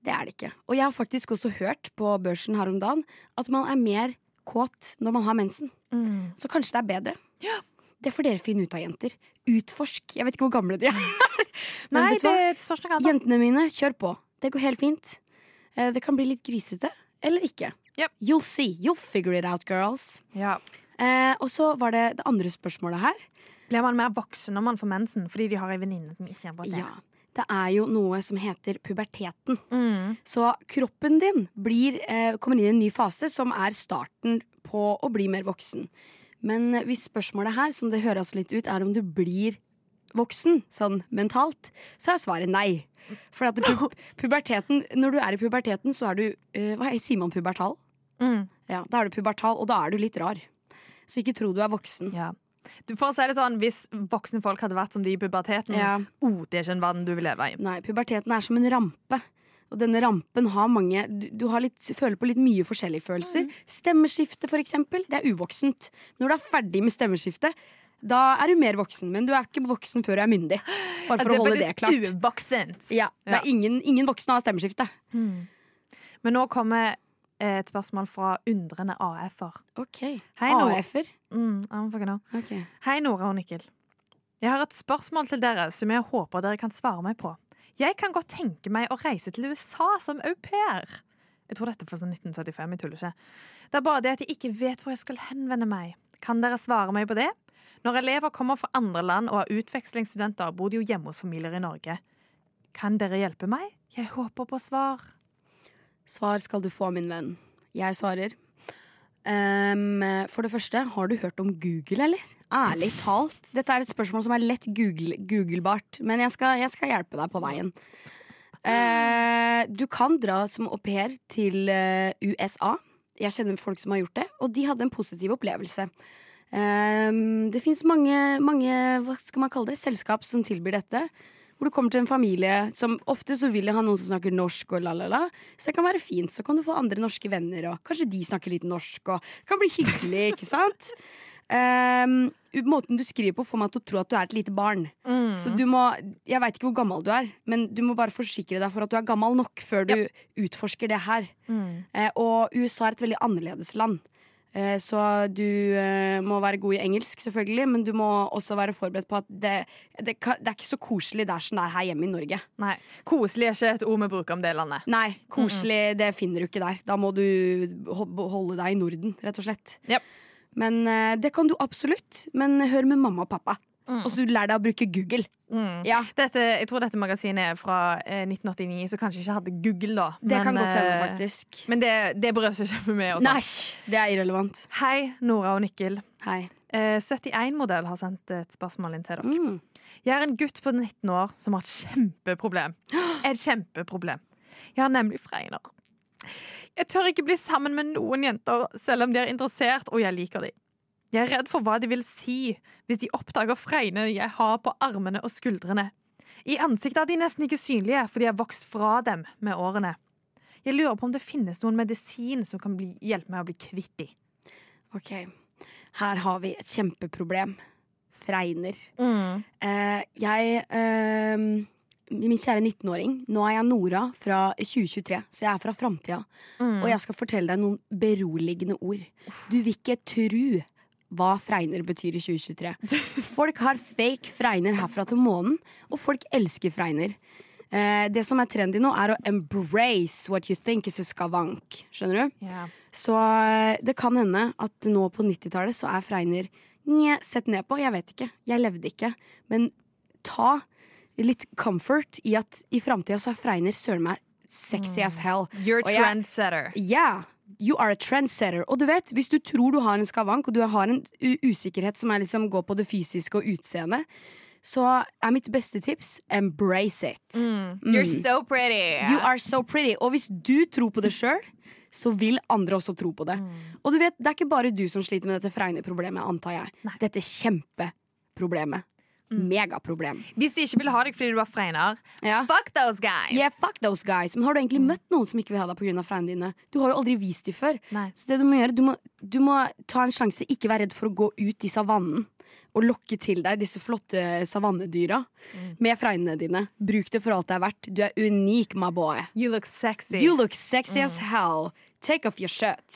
Det er det ikke. Og jeg har faktisk også hørt på børsen her om dagen at man er mer kåt når man har mensen.
Mm.
Så kanskje det er bedre. Det får dere finne ut av, jenter. Utforsk. Jeg vet ikke hvor gamle de er. (laughs) Men
Nei,
vet du
det
hva?
står ikke noe annet.
Jentene mine, kjør på. Det går helt fint. Eh, Det kan bli litt grisete, eller ikke.
Yep.
You'll see. You'll figure it out, girls.
Ja.
Eh, og så var det det andre spørsmålet her.
Blir man mer voksen når man får mensen fordi de har ei venninne som ikke har fått det?
Ja, det er jo noe som heter puberteten.
Mm.
Så kroppen din blir, eh, kommer inn i en ny fase som er starten på å bli mer voksen. Men eh, hvis spørsmålet her, som det høres litt ut, er om du blir voksen sånn mentalt, så er svaret nei. For at pu puberteten, når du er i puberteten, så er du eh, Hva sier man pubertal?
Mm.
Ja, da er du pubertal, og da er du litt rar. Så ikke tro du er voksen.
Ja. Du, for å si det sånn, Hvis voksne folk hadde vært som de i puberteten,
Ja.
oh, det er ikke en verden du vil leve i.
Nei, puberteten er som en rampe. Og denne rampen har mange Du, du har litt, føler på litt mye forskjellige følelser. Stemmeskifte, for eksempel. Det er uvoksent. Når du er ferdig med stemmeskiftet, da er du mer voksen. Men du er ikke voksen før du er myndig. Bare for å holde det klart.
uvoksent.
Ja, det er ingen, ingen voksne har stemmeskifte.
Men nå kommer eh, et spørsmål fra undrende AF-er.
Ok.
Hei, Nora.
AF-er.
Mm, I don't fucking know.
Ok.
Hei, Nora og Nikkel. Jeg har et spørsmål til dere som jeg håper dere kan svare meg på. Jeg kan godt tenke meg å reise til USA som au pair. Jeg tror dette er fra sånn 1975, jeg tuller ikke. Det er bare det at jeg ikke vet hvor jeg skal henvende meg. Kan dere svare meg på det? Når elever kommer fra andre land og er utvekslingsstudenter, bor de jo hjemme hos familier i Norge. Kan dere hjelpe meg? Jeg håper på svar.
Svar skal du få, min venn. Jeg svarer. Ehm, for det første, har du hørt om Google, eller? Ærlig talt. Dette er et spørsmål som er lett google, googlebart, men jeg skal, jeg skal hjelpe deg på veien. Eh, du kan dra som au pair til eh, USA. Jeg kjenner folk som har gjort det, og de hadde en positiv opplevelse. Ehm, det fins mange, mange hva skal man kalle det, selskap som tilbyr dette. Hvor du kommer til en familie som ofte så vil jeg ha noen som snakker norsk. og la la la Så det kan være fint, så kan du få andre norske venner, og kanskje de snakker litt norsk. Og det kan bli hyggelig, ikke sant? (laughs) Ehm, u- måten du skriver på, får meg til å tro at du er et lite barn.
Mm.
Så du må, Jeg veit ikke hvor gammel du er, men du må bare forsikre deg for at du er gammel nok før du utforsker det her. Eh, og USA er et veldig annerledes land. Eh, så du eh, må være god i engelsk, selvfølgelig, men du må også være forberedt på at det, det, ka- det er ikke så koselig der som det er her hjemme i Norge.
Nei. Koselig er ikke et ord vi bruker om det landet.
Nei, koselig, det finner du ikke der. Da må du ho- holde deg i Norden, rett og slett.
Japp.
Men eh, det kan du absolutt. Men hør med mamma og pappa. Og så lær deg å bruke Google.
Mm.
Ja,
Dette, jeg tror dette magasinet er fra eh, 1989, så kanskje ikke hadde Google da.
Det kan godt hende,
eh,
faktisk.
Men det, det brød seg ikke med meg. også.
Nei, det er irrelevant.
Hei, Nora og Nikkel.
Hei.
Eh, 71-modell har sendt et spørsmål inn til dere.
Mm.
Jeg er en gutt på 19 år som har et kjempeproblem. (gasps) Et kjempeproblem. Jeg har nemlig fregner. Jeg tør ikke bli sammen med noen jenter, selv om de er interessert og jeg liker dem. Jeg er redd for hva de vil si hvis de oppdager fregnene jeg har på armene og skuldrene. I ansiktet er de nesten ikke synlige fordi jeg har vokst fra dem med årene. Jeg lurer på om det finnes noen medisin som kan bli, hjelpe meg å bli kvitt de.
Ok, her har vi et kjempeproblem. Fregner.
Mm.
Eh, jeg eh, Min kjære 19-åring, nå er jeg Nora fra 2023, så jeg er fra framtida. Og jeg skal fortelle deg noen beroligende ord. Du vil ikke tru hva fregner betyr i (laughs) 2023. Folk har fake fregner herfra til månen, og folk elsker fregner. Eh, det som er trendy nå, er å embrace what you think is a skavank. Skjønner du? Så eh, det kan hende at nå på 90-tallet så er Fregner nje, sett ned på. Jeg vet ikke. Jeg levde ikke. Men ta litt comfort i at i framtida så er Fregner søren meg sexy as hell.
You're
Og jeg-
trendsetter.
Yeah, you are a trendsetter. Og du vet, hvis du tror du har en skavank, og du har en u- usikkerhet som er liksom går på det fysiske og utseendet, så er mitt beste tips embrace it.
Mm.
Mm.
You're so pretty.
You are so pretty. Og hvis du tror på det sjøl, så vil andre også tro på det.
Mm.
Og du vet, det er ikke bare du som sliter med dette fregneproblemet, antar jeg.
Nei. Mm.
Dette kjempeproblemet. Megaproblem.
Hvis de ikke vil ha deg fordi du var fregner,
Ja.
fuck Mm. those guys!
Yeah, fuck those guys. Men har du egentlig møtt noen som ikke vil ha deg pga. fregnene dine? Du har jo aldri vist dem før.
Nei.
Så det du må gjøre, du må, du må ta en sjanse, ikke være redd for å gå ut i savannen. Og lokke til deg disse flotte savannedyra med fregnene dine. Bruk det for alt det er verdt. Du er unik, my boy.
You look sexy.
You look sexy as hell. Take off your shirt.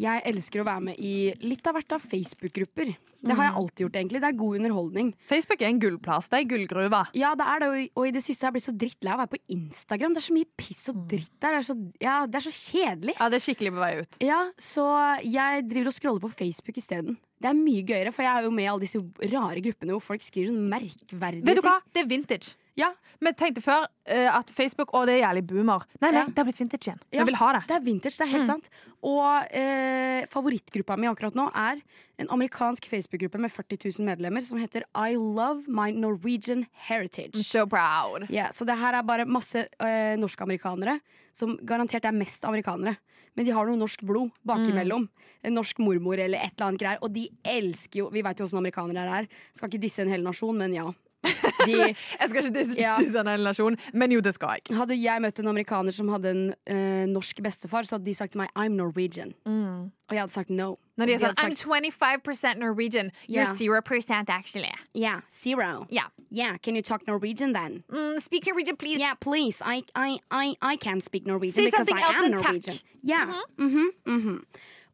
Jeg elsker å være med i litt av hvert av Facebook-grupper. Det har jeg alltid gjort, egentlig. Det er god underholdning.
Facebook er en gullplass. Det er en gullgruve.
Ja, det er det, og i- og i det siste har jeg blitt så drittlei av å være på Instagram. Det er så mye piss og dritt der. Det er så, ja, det er så kjedelig.
Ja, det er skikkelig på vei ut.
Ja, så jeg driver og scroller på Facebook isteden. Det er mye gøyere, for jeg er jo med i alle disse rare gruppene hvor folk skriver sånn merkverdige
Vet du hva? Det er vintage.
Ja,
Vi tenkte før eh, at Facebook å, det er jævlig boomer. Nei, nei,
Ja.
det har blitt vintage igjen.
Ja.
Vi vil ha det. Mm.
Det er vintage, det er helt sant. Og eh, favorittgruppa mi akkurat nå er en amerikansk Facebook-gruppe med 40 000 medlemmer som heter I love my Norwegian heritage.
proud.
Ja, så det her er bare masse eh, norsk-amerikanere som garantert er mest amerikanere. Men de har noe norsk blod bakimellom. En norsk mormor eller et eller annet greier. Og de elsker jo Vi veit jo åssen amerikanere er. Skal ikke disse en hel nasjon, men ja.
(laughs)
De,
Jeg skal ikke dis-
Ja.
disse en hel nasjon, men jo, det skal jeg.
hadde jeg møtt en amerikaner som hadde en eh, norsk bestefar, så hadde de sagt til meg 'I'm Norwegian'. Og jeg hadde sagt no.
Mm. Når de er
De
sånn
hadde
I'm 25 Norwegian. You're
Ja.
0% actually.
Yeah, zero.
Yeah.
Yeah, can you talk Norwegian then?
Mm, speak Norwegian, please.
Yeah, please. I, I, I, I can't speak Norwegian
Si
because
something
I
else
am
than Mm-hmm. takk.
Norwegian. Yeah. Mhm, mhm.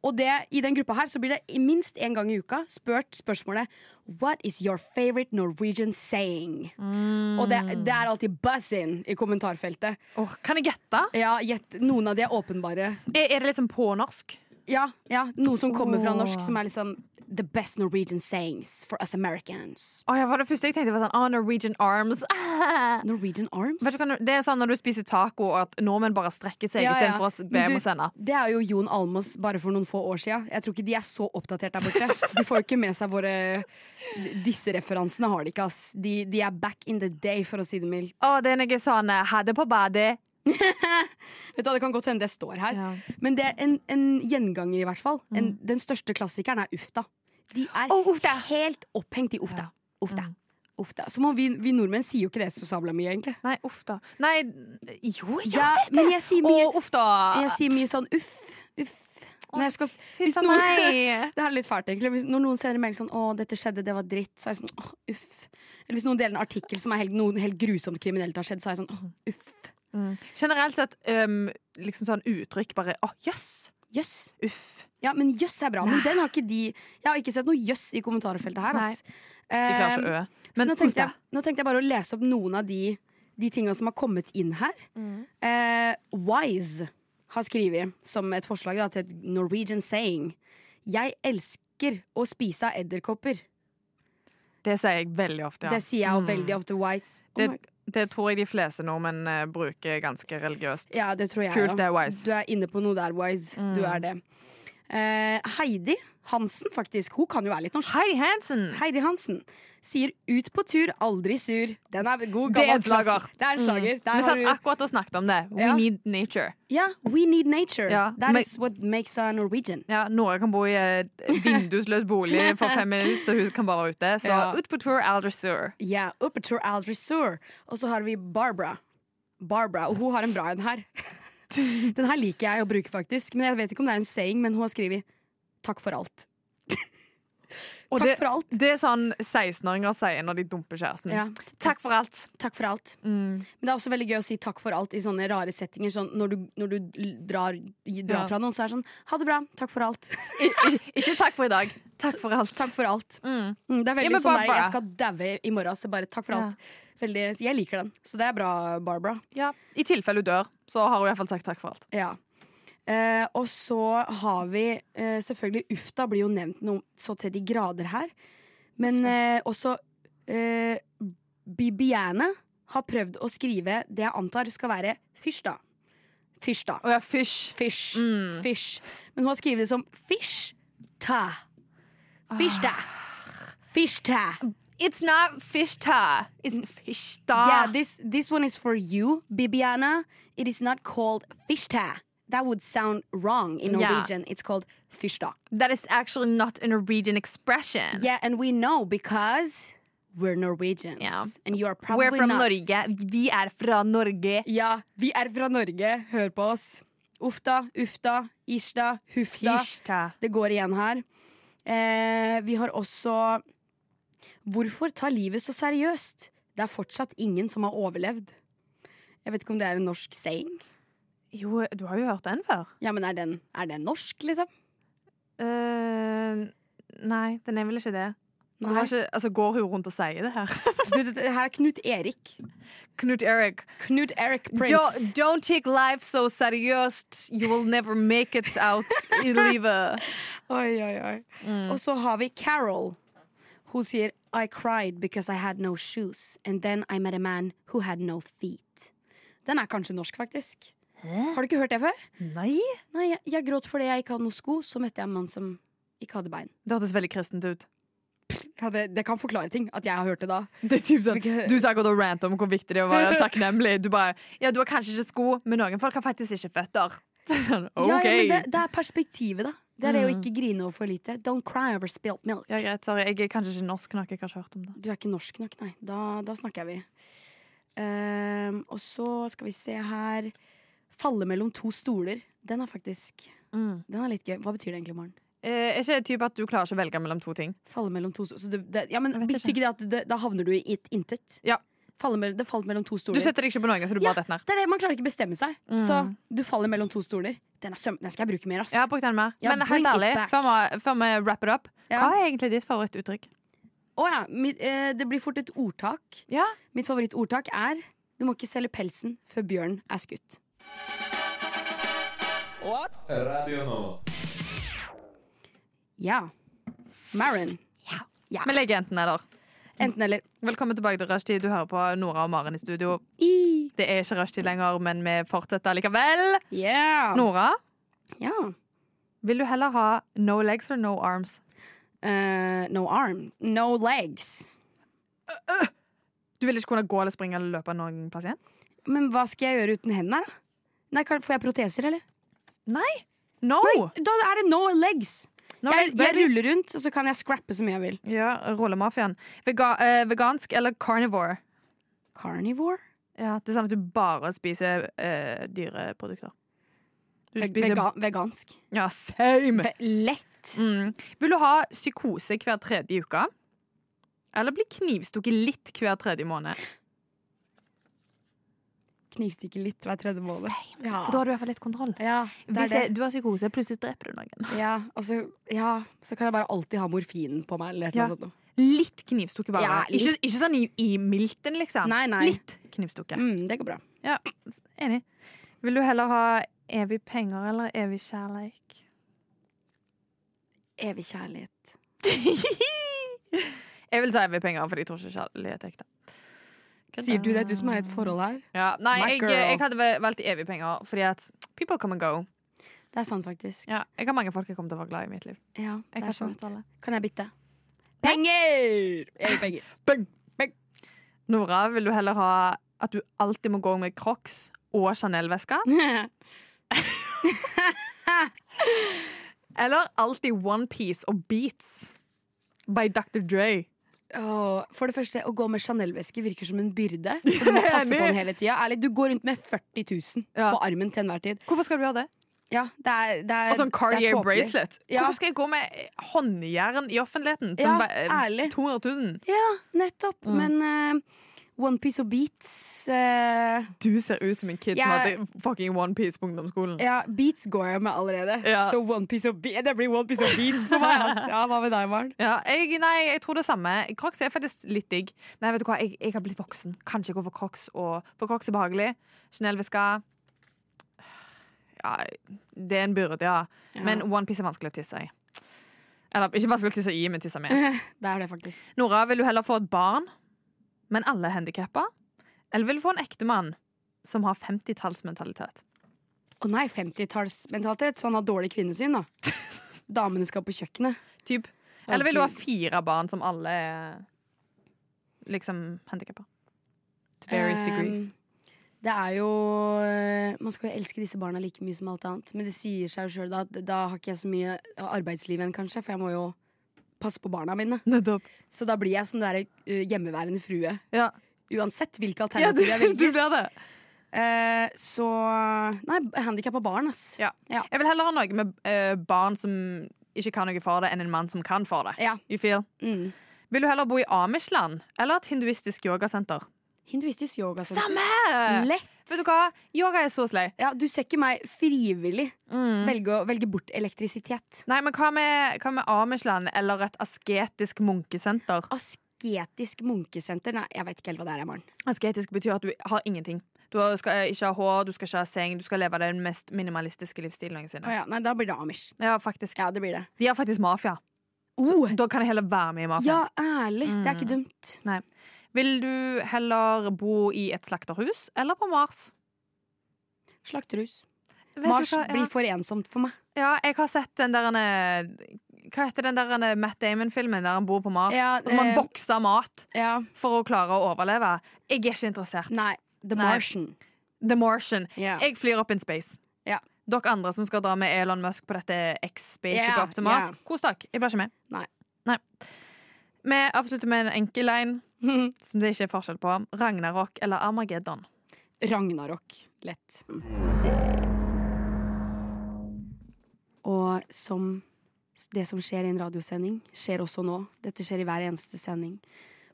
Og det, i den gruppa her så blir det i minst én gang i uka spurt spørsmålet What is your favorite Norwegian saying? Og det,
Mm.
det er alltid buzzin i kommentarfeltet.
Åh, kan jeg gjette?
Ja, gjett noen av de er åpenbare.
Er, er det liksom på norsk?
Ja, ja, noe som kommer fra
Åh.
norsk, som er liksom The best Norwegian sayings for us Americans.
Åh, ja, for det første jeg tenkte var sånn, ah, Norwegian arms. Eh. Vet
Norwegian arms?
du hva, det er sånn når du spiser taco og at nordmenn bare strekker seg
Ja, ja.
istedenfor å be
Men
om
du-
å sende.
Det er jo Jon Almås bare for noen få år siden. Jeg tror ikke de er så oppdatert der
(laughs)
borte. De får jo ikke med seg våre Disse referansene har de ikke, ass. De, de er back in the day, for å si det mildt.
Å, det er noe sånn eh, ha det på badet.
Vet du hva, Det kan godt hende det står her, men det er en, en gjenganger, i hvert fall. En, den største klassikeren er Ufta. De er
Mm. Å, uff, det er-
helt opphengt i Ufta.
Ja. Mm.
Ufta. Ufta. Som om vi, vi nordmenn sier jo ikke det så sabla mye, egentlig.
Nei, uff da. Nei, jo,
Ja,
ja.
men jeg sier
Å, ah.
mye,
uff da.
jeg sier mye sånn uff, uff. Når jeg skal, s-
Huff
hvis
a
noen-
(laughs) meg.
Det her er litt fælt, egentlig. Hvis, når noen sender melding sånn 'Å, dette skjedde, det var dritt', så er jeg sånn åh, uff. Eller hvis noen deler en artikkel som er helt, noe helt grusomt kriminelt har skjedd, så er jeg sånn åh, uff.
Mm. Generelt sett, um, liksom sånn uttrykk bare Å, jøss.
Jøss.
Uff.
Ja, men jøss er bra. Men den har ikke de Jeg har ikke sett noe jøss i kommentarfeltet her. Ass.
De klarer ikke å ø. Men
Ehm, så nå tenkte,
uff da.
jeg, nå tenkte jeg bare å lese opp noen av de, de tinga som har kommet inn her.
Mm.
Eh, Wise har skrevet som et forslag da, til et Norwegian saying. Jeg elsker å spise av edderkopper.
Det sier jeg veldig ofte, ja. Mm.
Det sier jeg jo veldig ofte. Wise. Oh
Det-
my God.
Det tror jeg de fleste nordmenn eh, bruker ganske religiøst.
Ja, det tror jeg
Kult,
ja.
det er wise. Mm.
Du er inne på noe der, Wise. Du er det. Eh, Heidi Hansen, faktisk. Hun kan jo være litt norsk.
Heidi Hansen!
Heidi Hansen sier 'ut på tur, aldri sur'. Den er god,
Det
gammel
er en slager.
klassiker.
Mm.
Det er en slager. Der
Vi
har
satt
du-
akkurat og snakket om det. We
Ja.
need nature.
Ja, 'We need nature'.
Ja,
That
men-
is what makes a Norwegian.
Ja, Nora kan bo i en vindusløs bolig for fem mil, så hun kan bare være ute. Så
Ja.
ut på tour, Alder Sur.
Ja, up på tur, aldri sur. Og så har vi Barbara. Barbara, Og hun har en bra en her. (laughs) Den her liker jeg å bruke, faktisk. Men Jeg vet ikke om det er en saying, men hun har skrevet 'takk for alt'.
Og
Takk
det, Mm.
for alt.
det er sånn 16-åringer sier når de dumper kjæresten.
Ja.
Takk for alt. Mm.
Takk for alt. Men det er også veldig gøy å si takk for alt i sånne rare settinger. Sånn når du, når du l- drar, drar
Ja.
fra noen, så er det sånn Ha det bra. Takk for alt.
I, i, ikke takk for i dag. Takk for alt.
Takk for alt.
Mm.
Mm, det er veldig
Ja, men
sånn der
Barbara.
Jeg skal daue i morgen, så bare takk for
Ja.
alt. Veldig, jeg liker den. Så det er bra, Barbara.
Ja. I tilfelle hun dør, så har hun iallfall sagt takk for alt.
Ja. Eh, og så har vi eh, selvfølgelig Ufta blir jo nevnt noe så til de grader her. Men eh, også eh, Bibiane har prøvd å skrive det jeg antar skal være fyrst, da. Fyrst, da.
Å ja, fysj.
Fish.
Mm.
Fish. Men hun har skrevet det som fish ta. Fish ta. Fish ta.
It's not fish ta. It's fish ta.
Yeah, this, this one is for you, Bibiana. It is not called fish ta. That would sound wrong in
Yeah.
Norwegian. It's called fish ta.
That is actually not a Norwegian expression.
Yeah, and we know because we're Norwegians.
Yeah.
And you are probably
We're from
not.
Norge. Vi er fra Norge.
Ja, vi er fra Norge. Hør på oss. Ufta, ufta, ishta, hufta. Det går igjen her. Eh, vi har også Hvorfor ta livet så seriøst? Det er fortsatt ingen som har overlevd. Jeg vet ikke om det er en norsk saying.
Jo, du har jo hørt den før.
Ja, men er den, er den norsk, liksom?
Eh, nei, den er vel ikke det. det
Nei.
var ikke, altså, går hun rundt og sier det her? (laughs)
Du, det, det her er Knut Erik.
Knut Erik.
Knut Erik Prince.
Don't, don't take life so seriøst. You will never make it out i (laughs) livet.
Oi, oi, oi. Mm. Og så har vi Carol. Hun sier I cried because I had no shoes And then I met a man who had no feet Den er kanskje norsk faktisk Har du ikke hørt det før?
Nei?
Nei, jeg, jeg gråt fordi jeg ikke hadde noen sko Så møtte jeg en mann som ikke hadde bein
Det hørtes veldig kristent ut.
det, kan forklare ting at jeg har hørt det da
Det er typ sånn,
Hvilke-
du sa godt og rant om hvor viktig det er å (laughs) være takknemlig. Du bare, ja, du har kanskje ikke sko, men noen folk har faktisk ikke føtter. (laughs) Så Sånn, ok. Mm.
ja, ja, men det, det er perspektivet da Det er det å ikke grine over for lite. Don't cry over spilt milk.
Ja, greit, sorry. Jeg er kanskje ikke norsk nok. Jeg har ikke hørt om det.
Du er ikke norsk nok, nei. Da, da snakker vi. Ehm, og så skal vi se her. Falle mellom to stoler. Den er faktisk
Mm.
Den er litt gøy. Hva betyr det egentlig, Maren?
Eh, er ikke det typ at du klarer ikke å velge mellom to ting?
Falle mellom to stoler. Så det, det, ja, men
Jeg vet
betyr ikke det at det, da havner du i et intet?
Ja.
Falle mellom, det falt mellom to
Du
stoler.
setter deg ikke på noe, så du
Ja.
bare detter ned.
det er det, Man klarer ikke bestemme seg.
Mm.
Så du faller mellom to stoler. Den, er søm, den skal jeg bruke mer, ass.
Jeg har brukt den mer.
Ja,
Men
bring
helt
it
ærlig,
back.
før vi, før vi wrap it up,
Ja.
hva er egentlig ditt favorittuttrykk?
Å ja, mitt, eh, det blir fort et ordtak.
Ja.
Mitt favorittordtak er du må ikke selge pelsen før bjørnen er skutt.
Radio Nova.
Ja. Maren.
Vi legger enten eller.
Enten eller.
Velkommen tilbake til Rushtid. Du hører på Nora og Maren i studio.
I.
Det er ikke rushtid lenger, men vi fortsetter likevel.
Yeah.
Nora,
Ja.
vil du heller ha no legs or no arms?
Eh, no arm. No legs.
Du vil ikke kunne gå eller springe eller løpe noen plass igjen?
Men hva skal jeg gjøre uten hendene, da? Nei, kan- Får jeg proteser, eller?
No!
Da er det no legs!
no
jeg,
legs,
jeg
baby.
ruller rundt, og så kan jeg scrappe så mye jeg vil.
Ja, Rollemafiaen. Vega eh, vegansk eller carnivore?
Carnivore?
Ja, det er sånn at du bare spiser eh, dyre produkter. Du
Ve-
spiser
Vega vegansk.
Ja, same!
Ve lett.
Mm. Vil du ha psykose hver tredje uke? Eller bli knivstukket litt hver tredje måned?
Knivstikke litt hver tredje måned.
For da har du i hvert fall litt kontroll.
Ja, det
Hvis
er det.
jeg, du har psykose, plutselig dreper du noen.
Ja, og så, ja, så kan jeg bare alltid ha morfinen på meg. Eller et eller annet sånt.
Litt knivstukket bare.
Ja, litt.
Ikke, ikke sånn i, i milten, liksom.
Nei, nei.
Litt knivstukket.
Mm, det går bra.
Enig. Vil du heller ha evig penger eller evig
(laughs)
kjærleik?
Evig kjærlighet.
jeg vil ta evig penger, for jeg tror ikke kjærlighet er ekte.
Sier du det, du som er i et forhold her?
Ja, nei,
My
jeg,
girl.
jeg hadde vel- valgt evig penger, fordi at people come and go.
Det er sant, faktisk.
Ja, jeg har mange folk jeg kommer til å være glad i i mitt liv.
Ja,
Jeg
det
kan
er
ikke
sant.
møte alle.
Kan jeg bytte? Penger! Evig penger.
Nora, vil du heller ha at du alltid må gå med Crocs og Chanel-veske? Eller alltid OnePiece og Beats by Dr. Dre?
(laughs) Åh, for det første, å gå med Chanel-veske virker som en (laughs) byrde. for Du må passe på
Enig.
den hele tida. Ærlig, du går rundt med 40 000
Ja.
på armen til enhver tid.
Hvorfor skal du gjøre det?
Ja, det er, det er,
Og sånn
det er
Cartier
tåpelig.
bracelet.
Ja.
Hvorfor skal jeg gå med håndjern i offentligheten?
Ja,
Som ja,
ærlig.
200 000.
Ja, nettopp.
Mm.
Men eh, One Piece og Beats eh,
Du ser ut som en kid som
Jeg-
hadde fucking OnePiece på ungdomsskolen.
Ja, Beats går jeg med allerede.
Ja.
Så One Piece og Be det blir One Piece og Beats på meg. Ass. Ja, Hva med deg, Maren?
Ja, jeg, nei, jeg tror det samme. Crocs er faktisk litt digg. Nei, vet du hva, jeg, jeg har blitt voksen. Kan ikke gå for Crocs. Og, for Crocs er behagelig. Chanel-veska Ja, det er en byrde, ja. Men OnePiece er vanskelig å tisse i. Eller ikke vanskelig å tisse i, men tisse med.
Det er det, faktisk.
Nora, vil du heller få et barn, men alle er handikappa? Eller vil du få en ektemann som har 50-tallsmentalitet?
Å nei, 50-tallsmentalitet. Så han har dårlig kvinnesyn, da. Damene skal på kjøkkenet.
Typ. Eller vil du ha fire barn som alle er liksom handikappa? To various degrees.
Um, Det er jo eh, Man skal jo elske disse barna like mye som alt annet. Men det sier seg jo sjøl da at da har ikke jeg så mye av arbeidsliv igjen, kanskje. For jeg må jo passe på barna mine.
Nettopp.
Så da blir jeg sånn der eh, hjemmeværende frue.
Ja.
Uansett hvilke
Ja, du,
alternativer jeg velger.
(laughs) du blir det.
Eh, så Nei, handikappa barn, ass.
Ja. Jeg vil heller ha noe med eh, barn som ikke kan noe for det, enn en mann som kan for det.
Ja.
You feel?
Mm.
Vil du heller bo i Amishland eller et hinduistisk yogasenter?
Hinduistisk yoga.
altså.
sånn.
Samme!
Lett.
Vet du hva? Yoga er så slei.
Ja, du ser ikke meg frivillig
Mm.
velge, å- velge bort elektrisitet.
Nei, men hva med, hva med Amishland eller et asketisk munkesenter?
Asketisk munkesenter? Nei, jeg vet ikke helt hva det er, Maren.
Asketisk betyr at du har ingenting. Du har- skal eh, ikke ha hår, du skal ikke ha seng, du skal leve den mest minimalistiske livsstilen
Å
noensinne.
ja, nei, da blir det Amish.
Ja, faktisk.
Ja, det blir det.
De har faktisk mafia.
Oh,
Da kan jeg heller være med i mafiaen.
ja, ærlig. Det er ikke
Mm.
dumt.
Vil du heller bo i et slakterhus eller på Mars?
Slakterhus.
Vet du
Mars
hva? ja.
blir for ensomt for meg.
ja, jeg har sett den der eh, Hva heter den der eh, Matt Damon-filmen der han bor på Mars?
Ja,
og så må han
eh,
vokse mat
Ja.
for å klare å overleve. Jeg er ikke interessert.
Nei. The
Nei.
Martian.
The Martian.
Ja.
Jeg flyr opp in space.
Ja.
Dere andre som skal dra med Elon Musk på dette XB, ikke
Ja,
på opp til Mars.
ja.
Kos dere. Jeg blir ikke med.
Nei.
Nei. Vi avslutter med en enkel en
(laughs)
som det ikke er forskjell på. Ragnarok eller Armageddon.
Ragnarok. Lett. Og som det som skjer i en radiosending, skjer også nå. Dette skjer i hver eneste sending.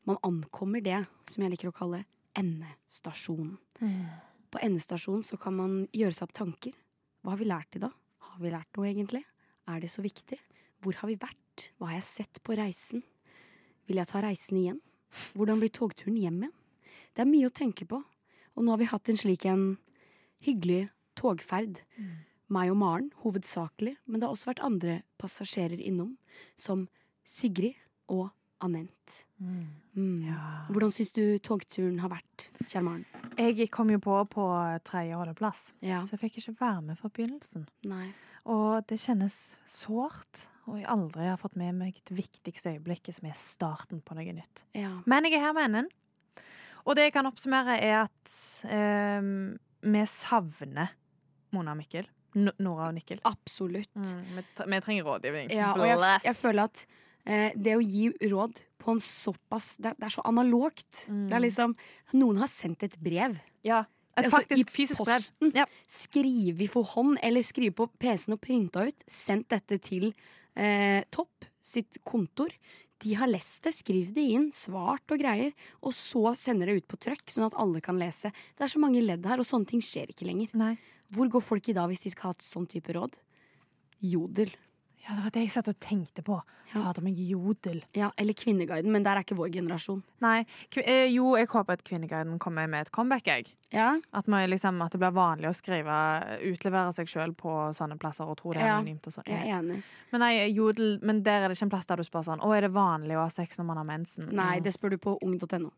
Man ankommer det som jeg liker å kalle endestasjonen. På endestasjonen så kan man gjøre seg opp tanker. Hva har vi lært i dag? Har vi lært noe egentlig? Er det så viktig? Hvor har vi vært? Hva har jeg sett på reisen? Vil jeg ta reisen igjen? Hvordan blir togturen hjem igjen? Det er mye å tenke på. Og nå har vi hatt en slik en hyggelig togferd. Meg og Maren hovedsakelig, men det har også vært andre passasjerer innom, som Sigrid og Anent. Mm. Hvordan syns du togturen har vært, kjære Maren?
Jeg kom jo på på tredje holdeplass,
Ja.
så jeg fikk ikke være med fra begynnelsen.
Nei.
Og det kjennes sårt, og jeg aldri har fått med meg det viktigste øyeblikket, som er starten på noe nytt.
Ja.
Men jeg er her med enden. Og det jeg kan oppsummere, er at eh, vi savner Mona og Mikkel. N Nora og Nikkel.
Absolutt.
Mm, vi, tre- vi trenger rådgivning.
Ja, og jeg,
Bless.
jeg føler at eh, det å gi råd på en såpass Det, det er så analogt.
Mm.
Det er liksom Noen har sendt et brev.
ja, et
Altså,
faktisk
i
fysisk brev.
posten.
Ja.
Skrive for hånd, eller skrive på PC-en og printa ut. Sendt dette til eh, Topp sitt kontor. De har lest det, skriv det inn, svart og greier. Og så sender det ut på trøkk, sånn at alle kan lese. Det er så mange ledd her, og sånne ting skjer ikke lenger.
Nei.
Hvor går folk i dag hvis de skal ha et sånn type råd? Jodel.
Ja, det var det jeg satt og tenkte på.
Ja.
Fader meg, jodel.
Ja, eller Kvinneguiden, men der er ikke vår generasjon.
Nei, kvi- eh, jo, jeg håper at Kvinneguiden kommer med et comeback, jeg.
Ja,
At, man, liksom, at det blir vanlig å skrive, utlevere seg sjøl på sånne plasser og tro det er
Ja.
anonymt. Og sånn.
jeg er enig.
Men, nei, jodel, men der er det ikke en plass der du spør sånn Å, er det vanlig å ha sex når man har mensen?
Nei, det spør du på ung.no.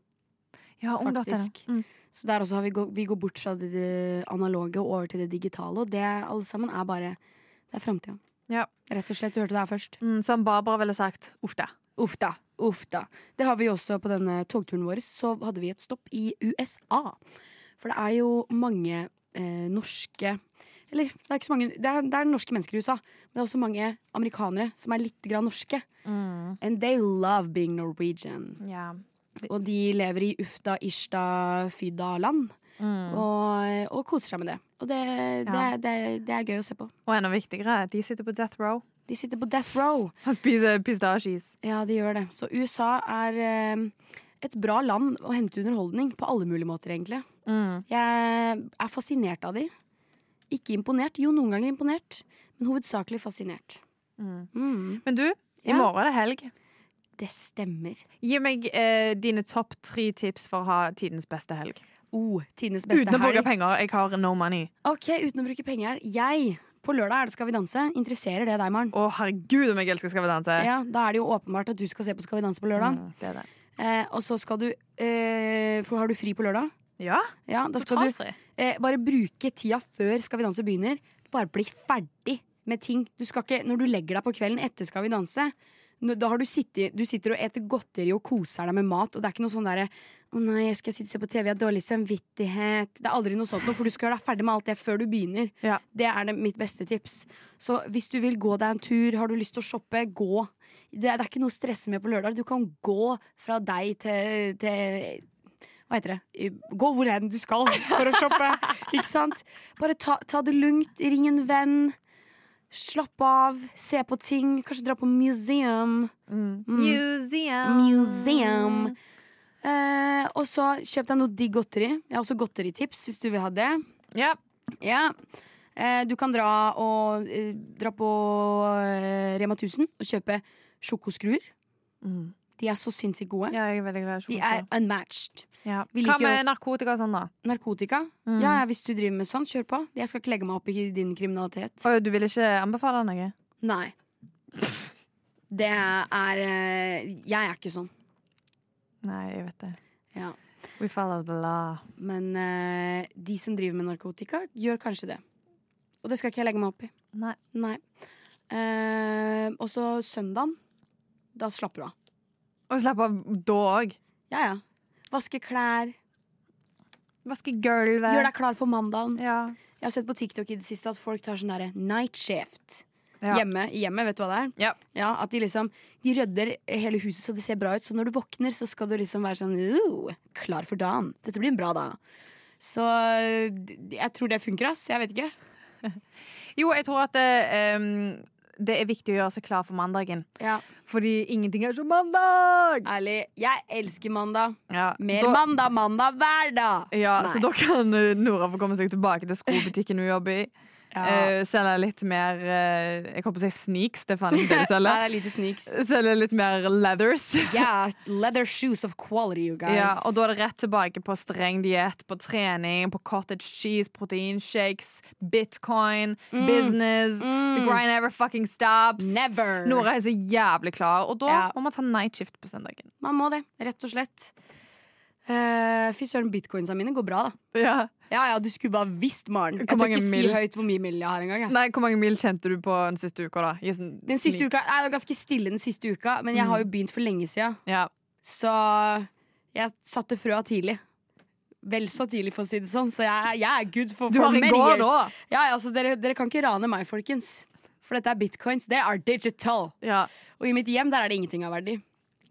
ja, ung.no.
faktisk.
Mm.
Så der også har vi, gå, vi går bort fra det, det analoge og over til det digitale, og det alle sammen er bare Det er framtida.
Ja.
Rett og slett. Du hørte det her først.
Mm, som Barbara ville sagt. Uff da.
Uff da. Uff da. Det har vi jo også på denne togturen vår, så hadde vi et stopp i USA. For det er jo mange eh, norske Eller det er ikke så mange det er, det er norske mennesker i USA, men det er også mange amerikanere som er litt grann norske. And they love being Norwegian.
Ja.
Og de lever i ufta, ishta, fydda land. Og, og koser seg med det. Og det, det,
Mm. Ja.
er- det, er- det er gøy å se på.
Og enda viktigere, de sitter på death row
De sitter på death row.
og spiser pistasjeis.
Ja, de gjør det. Så USA er eh, et bra land å hente underholdning på alle mulige måter, egentlig.
Mm.
Jeg er fascinert av de. Ikke imponert. Jo, noen ganger imponert, men hovedsakelig fascinert. Mm.
Men du, i
Ja.
morgen er det helg.
Det stemmer.
Gi meg eh, dine topp tre tips for å ha tidens beste helg.
Oh, tidenes beste
Uten å bruke
helg.
penger. Jeg har no money.
Ok, uten å bruke penger. Jeg, på lørdag er det Skal vi danse. Interesserer det deg, Maren?
Å, herregud om jeg elsker Skal vi danse!
Ja, Da er det jo åpenbart at du skal se på Skal vi danse på lørdag.
Mm, det er det.
Eh, og så skal du eh, For har du fri på lørdag?
Ja,
Ja, da skal du
totalfri.
eh, bare bruke tida før Skal vi danse begynner. Bare bli ferdig med ting. Du skal ikke, når du legger deg på kvelden etter Skal vi danse, nå- da har du sittet, du sitter og eter godteri og koser deg med mat, og det er ikke noe sånn derre å nei, jeg skal sitte og se på TV, jeg har dårlig samvittighet. Det er aldri noe sånt noe, for du skal gjøre deg ferdig med alt det før du begynner.
Ja.
Det er det mitt beste tips. Så hvis du vil gå deg en tur, har du lyst til å shoppe, gå. Det er, det er ikke noe å stresse med på lørdag. Du kan gå fra deg til, til hva heter det? I- Gå hvor enn du skal for å (laughs) shoppe. Ikke sant? Bare ta, ta det lugnt, ring en venn. Slapp av, se på ting. Kanskje dra på museum. Mm.
Mm. Museum.
Museum. Eh, og så kjøp deg noe digg godteri. Jeg har også godteritips hvis du vil ha det.
Ja.
Ja. Eh, du kan dra, og, eh, dra på eh, Rema 1000 og kjøpe sjokoskruer. De er så sinnssykt gode.
Mm. ja, jeg er veldig glad i
De er
sjokolade.
unmatched.
Ja.
Vi
Hva
liker jo-
med narkotika og sånn, da?
Narkotika?
Mm.
Ja, ja, hvis du driver med sånn, kjør på. Jeg skal ikke legge meg opp i din kriminalitet.
Å, du vil ikke anbefale noe?
Nei. Det er eh, Jeg er ikke sånn.
Nei, jeg vet det.
Ja.
We follow the law.
Men eh, de som driver med narkotika, gjør kanskje det. Og det skal ikke jeg legge meg opp i.
Nei.
Nei. Eh, og så søndagen. Da slapper du av.
Og slapp av da òg.
Ja, ja. Vaske klær.
Vaske gulvet.
Gjør deg klar for mandagen.
Ja.
Jeg har sett på TikTok i det siste at folk tar sånn derre night shift.
Ja.
Hjemme, i hjemmet, vet du hva det er?
Ja.
At de liksom De rydder hele huset så det ser bra ut, så når du våkner, så skal du liksom være sånn «Ooh, klar for dagen. Dette blir en bra dag. Så øh, jeg tror det funker, ass. Jeg vet ikke.
Jo, jeg tror at eh, em, det er viktig å gjøre seg klar for mandagen. Fordi ingenting er som mandag!
Ærlig, jeg elsker mandag.
Ja,
Mer
da-
mandag, mandag hver dag!
Ja,
Nei.
så da kan eh, Nora få komme seg tilbake til skobutikken hun jobber i.
(laughs) Ja.
Eh, selge litt mer eh, Jeg holdt på å si sneaks, det er faen ikke det
(laughs)
du
Nei,
selger.
det er lite sneaks.
Selge litt mer leathers.
Yeah, leather shoes of quality, you guys.
(laughs) Ja, og da er det rett tilbake på streng diett, på trening, på cottage cheese, proteinshakes, bitcoin, business. The grind never fucking stops.
Mm. Never!
Nora er så jævlig klar, og da
Ja.
må man ta night shift på søndagen.
Man må det, rett og slett. Uh, Fy søren, bitcoinsa mine går bra, da.
Ja.
Ja, ja, du skulle bare visst, Maren. Jeg
Hvor
tør
mange
ikke si
mil?
høyt hvor mye mil jeg har engang. jeg.
Nei, Hvor mange mil kjente du på den siste uka, da? I sånn-
Den siste uka, nei, det var ganske stille den siste uka, men
Mm.
jeg har jo begynt for lenge siden.
Ja.
Så jeg satte frøa tidlig. Vel så tidlig, for å si det sånn. Så jeg, jeg er good for,
Du
for
har en
many
gård
years.
òg!
Ja, ja, altså, dere, dere kan ikke rane meg, folkens. For dette er bitcoins. They are digital.
Ja.
Og i mitt hjem der er det ingenting av verdi.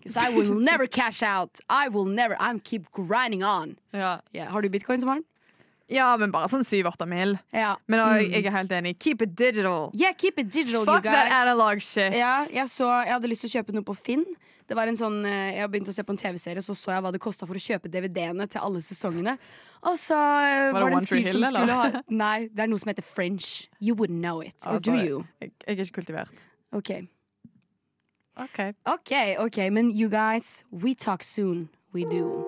'Cause I
(laughs)
will never cash out. I will never I'm keep grinding on.
Ja.
Ja, Har du bitcoins, Maren?
ja, men bare sånn syv-åtte mil.
Ja.
Men da, jeg er helt enig. Keep it digital!
Yeah, keep it Mm. digital,
Fuck
you guys.
that analog shit!
Ja, jeg, så, jeg hadde lyst til å kjøpe noe på Finn. Det var en sånn, eh, jeg begynte å se på en TV-serie, så så jeg hva det kosta for å kjøpe DVD-ene til alle sesongene. Og så eh,
Var det
var det
One
en
Tree
fyr som
Hill, eller?
skulle ha Nei, det er noe som heter French. You wouldn't know it. Or
Ah,
do
sorry.
you?
Jeg, jeg er ikke kultivert.
Ok.
OK.
Ok, ok, men you guys, we talk soon. We do.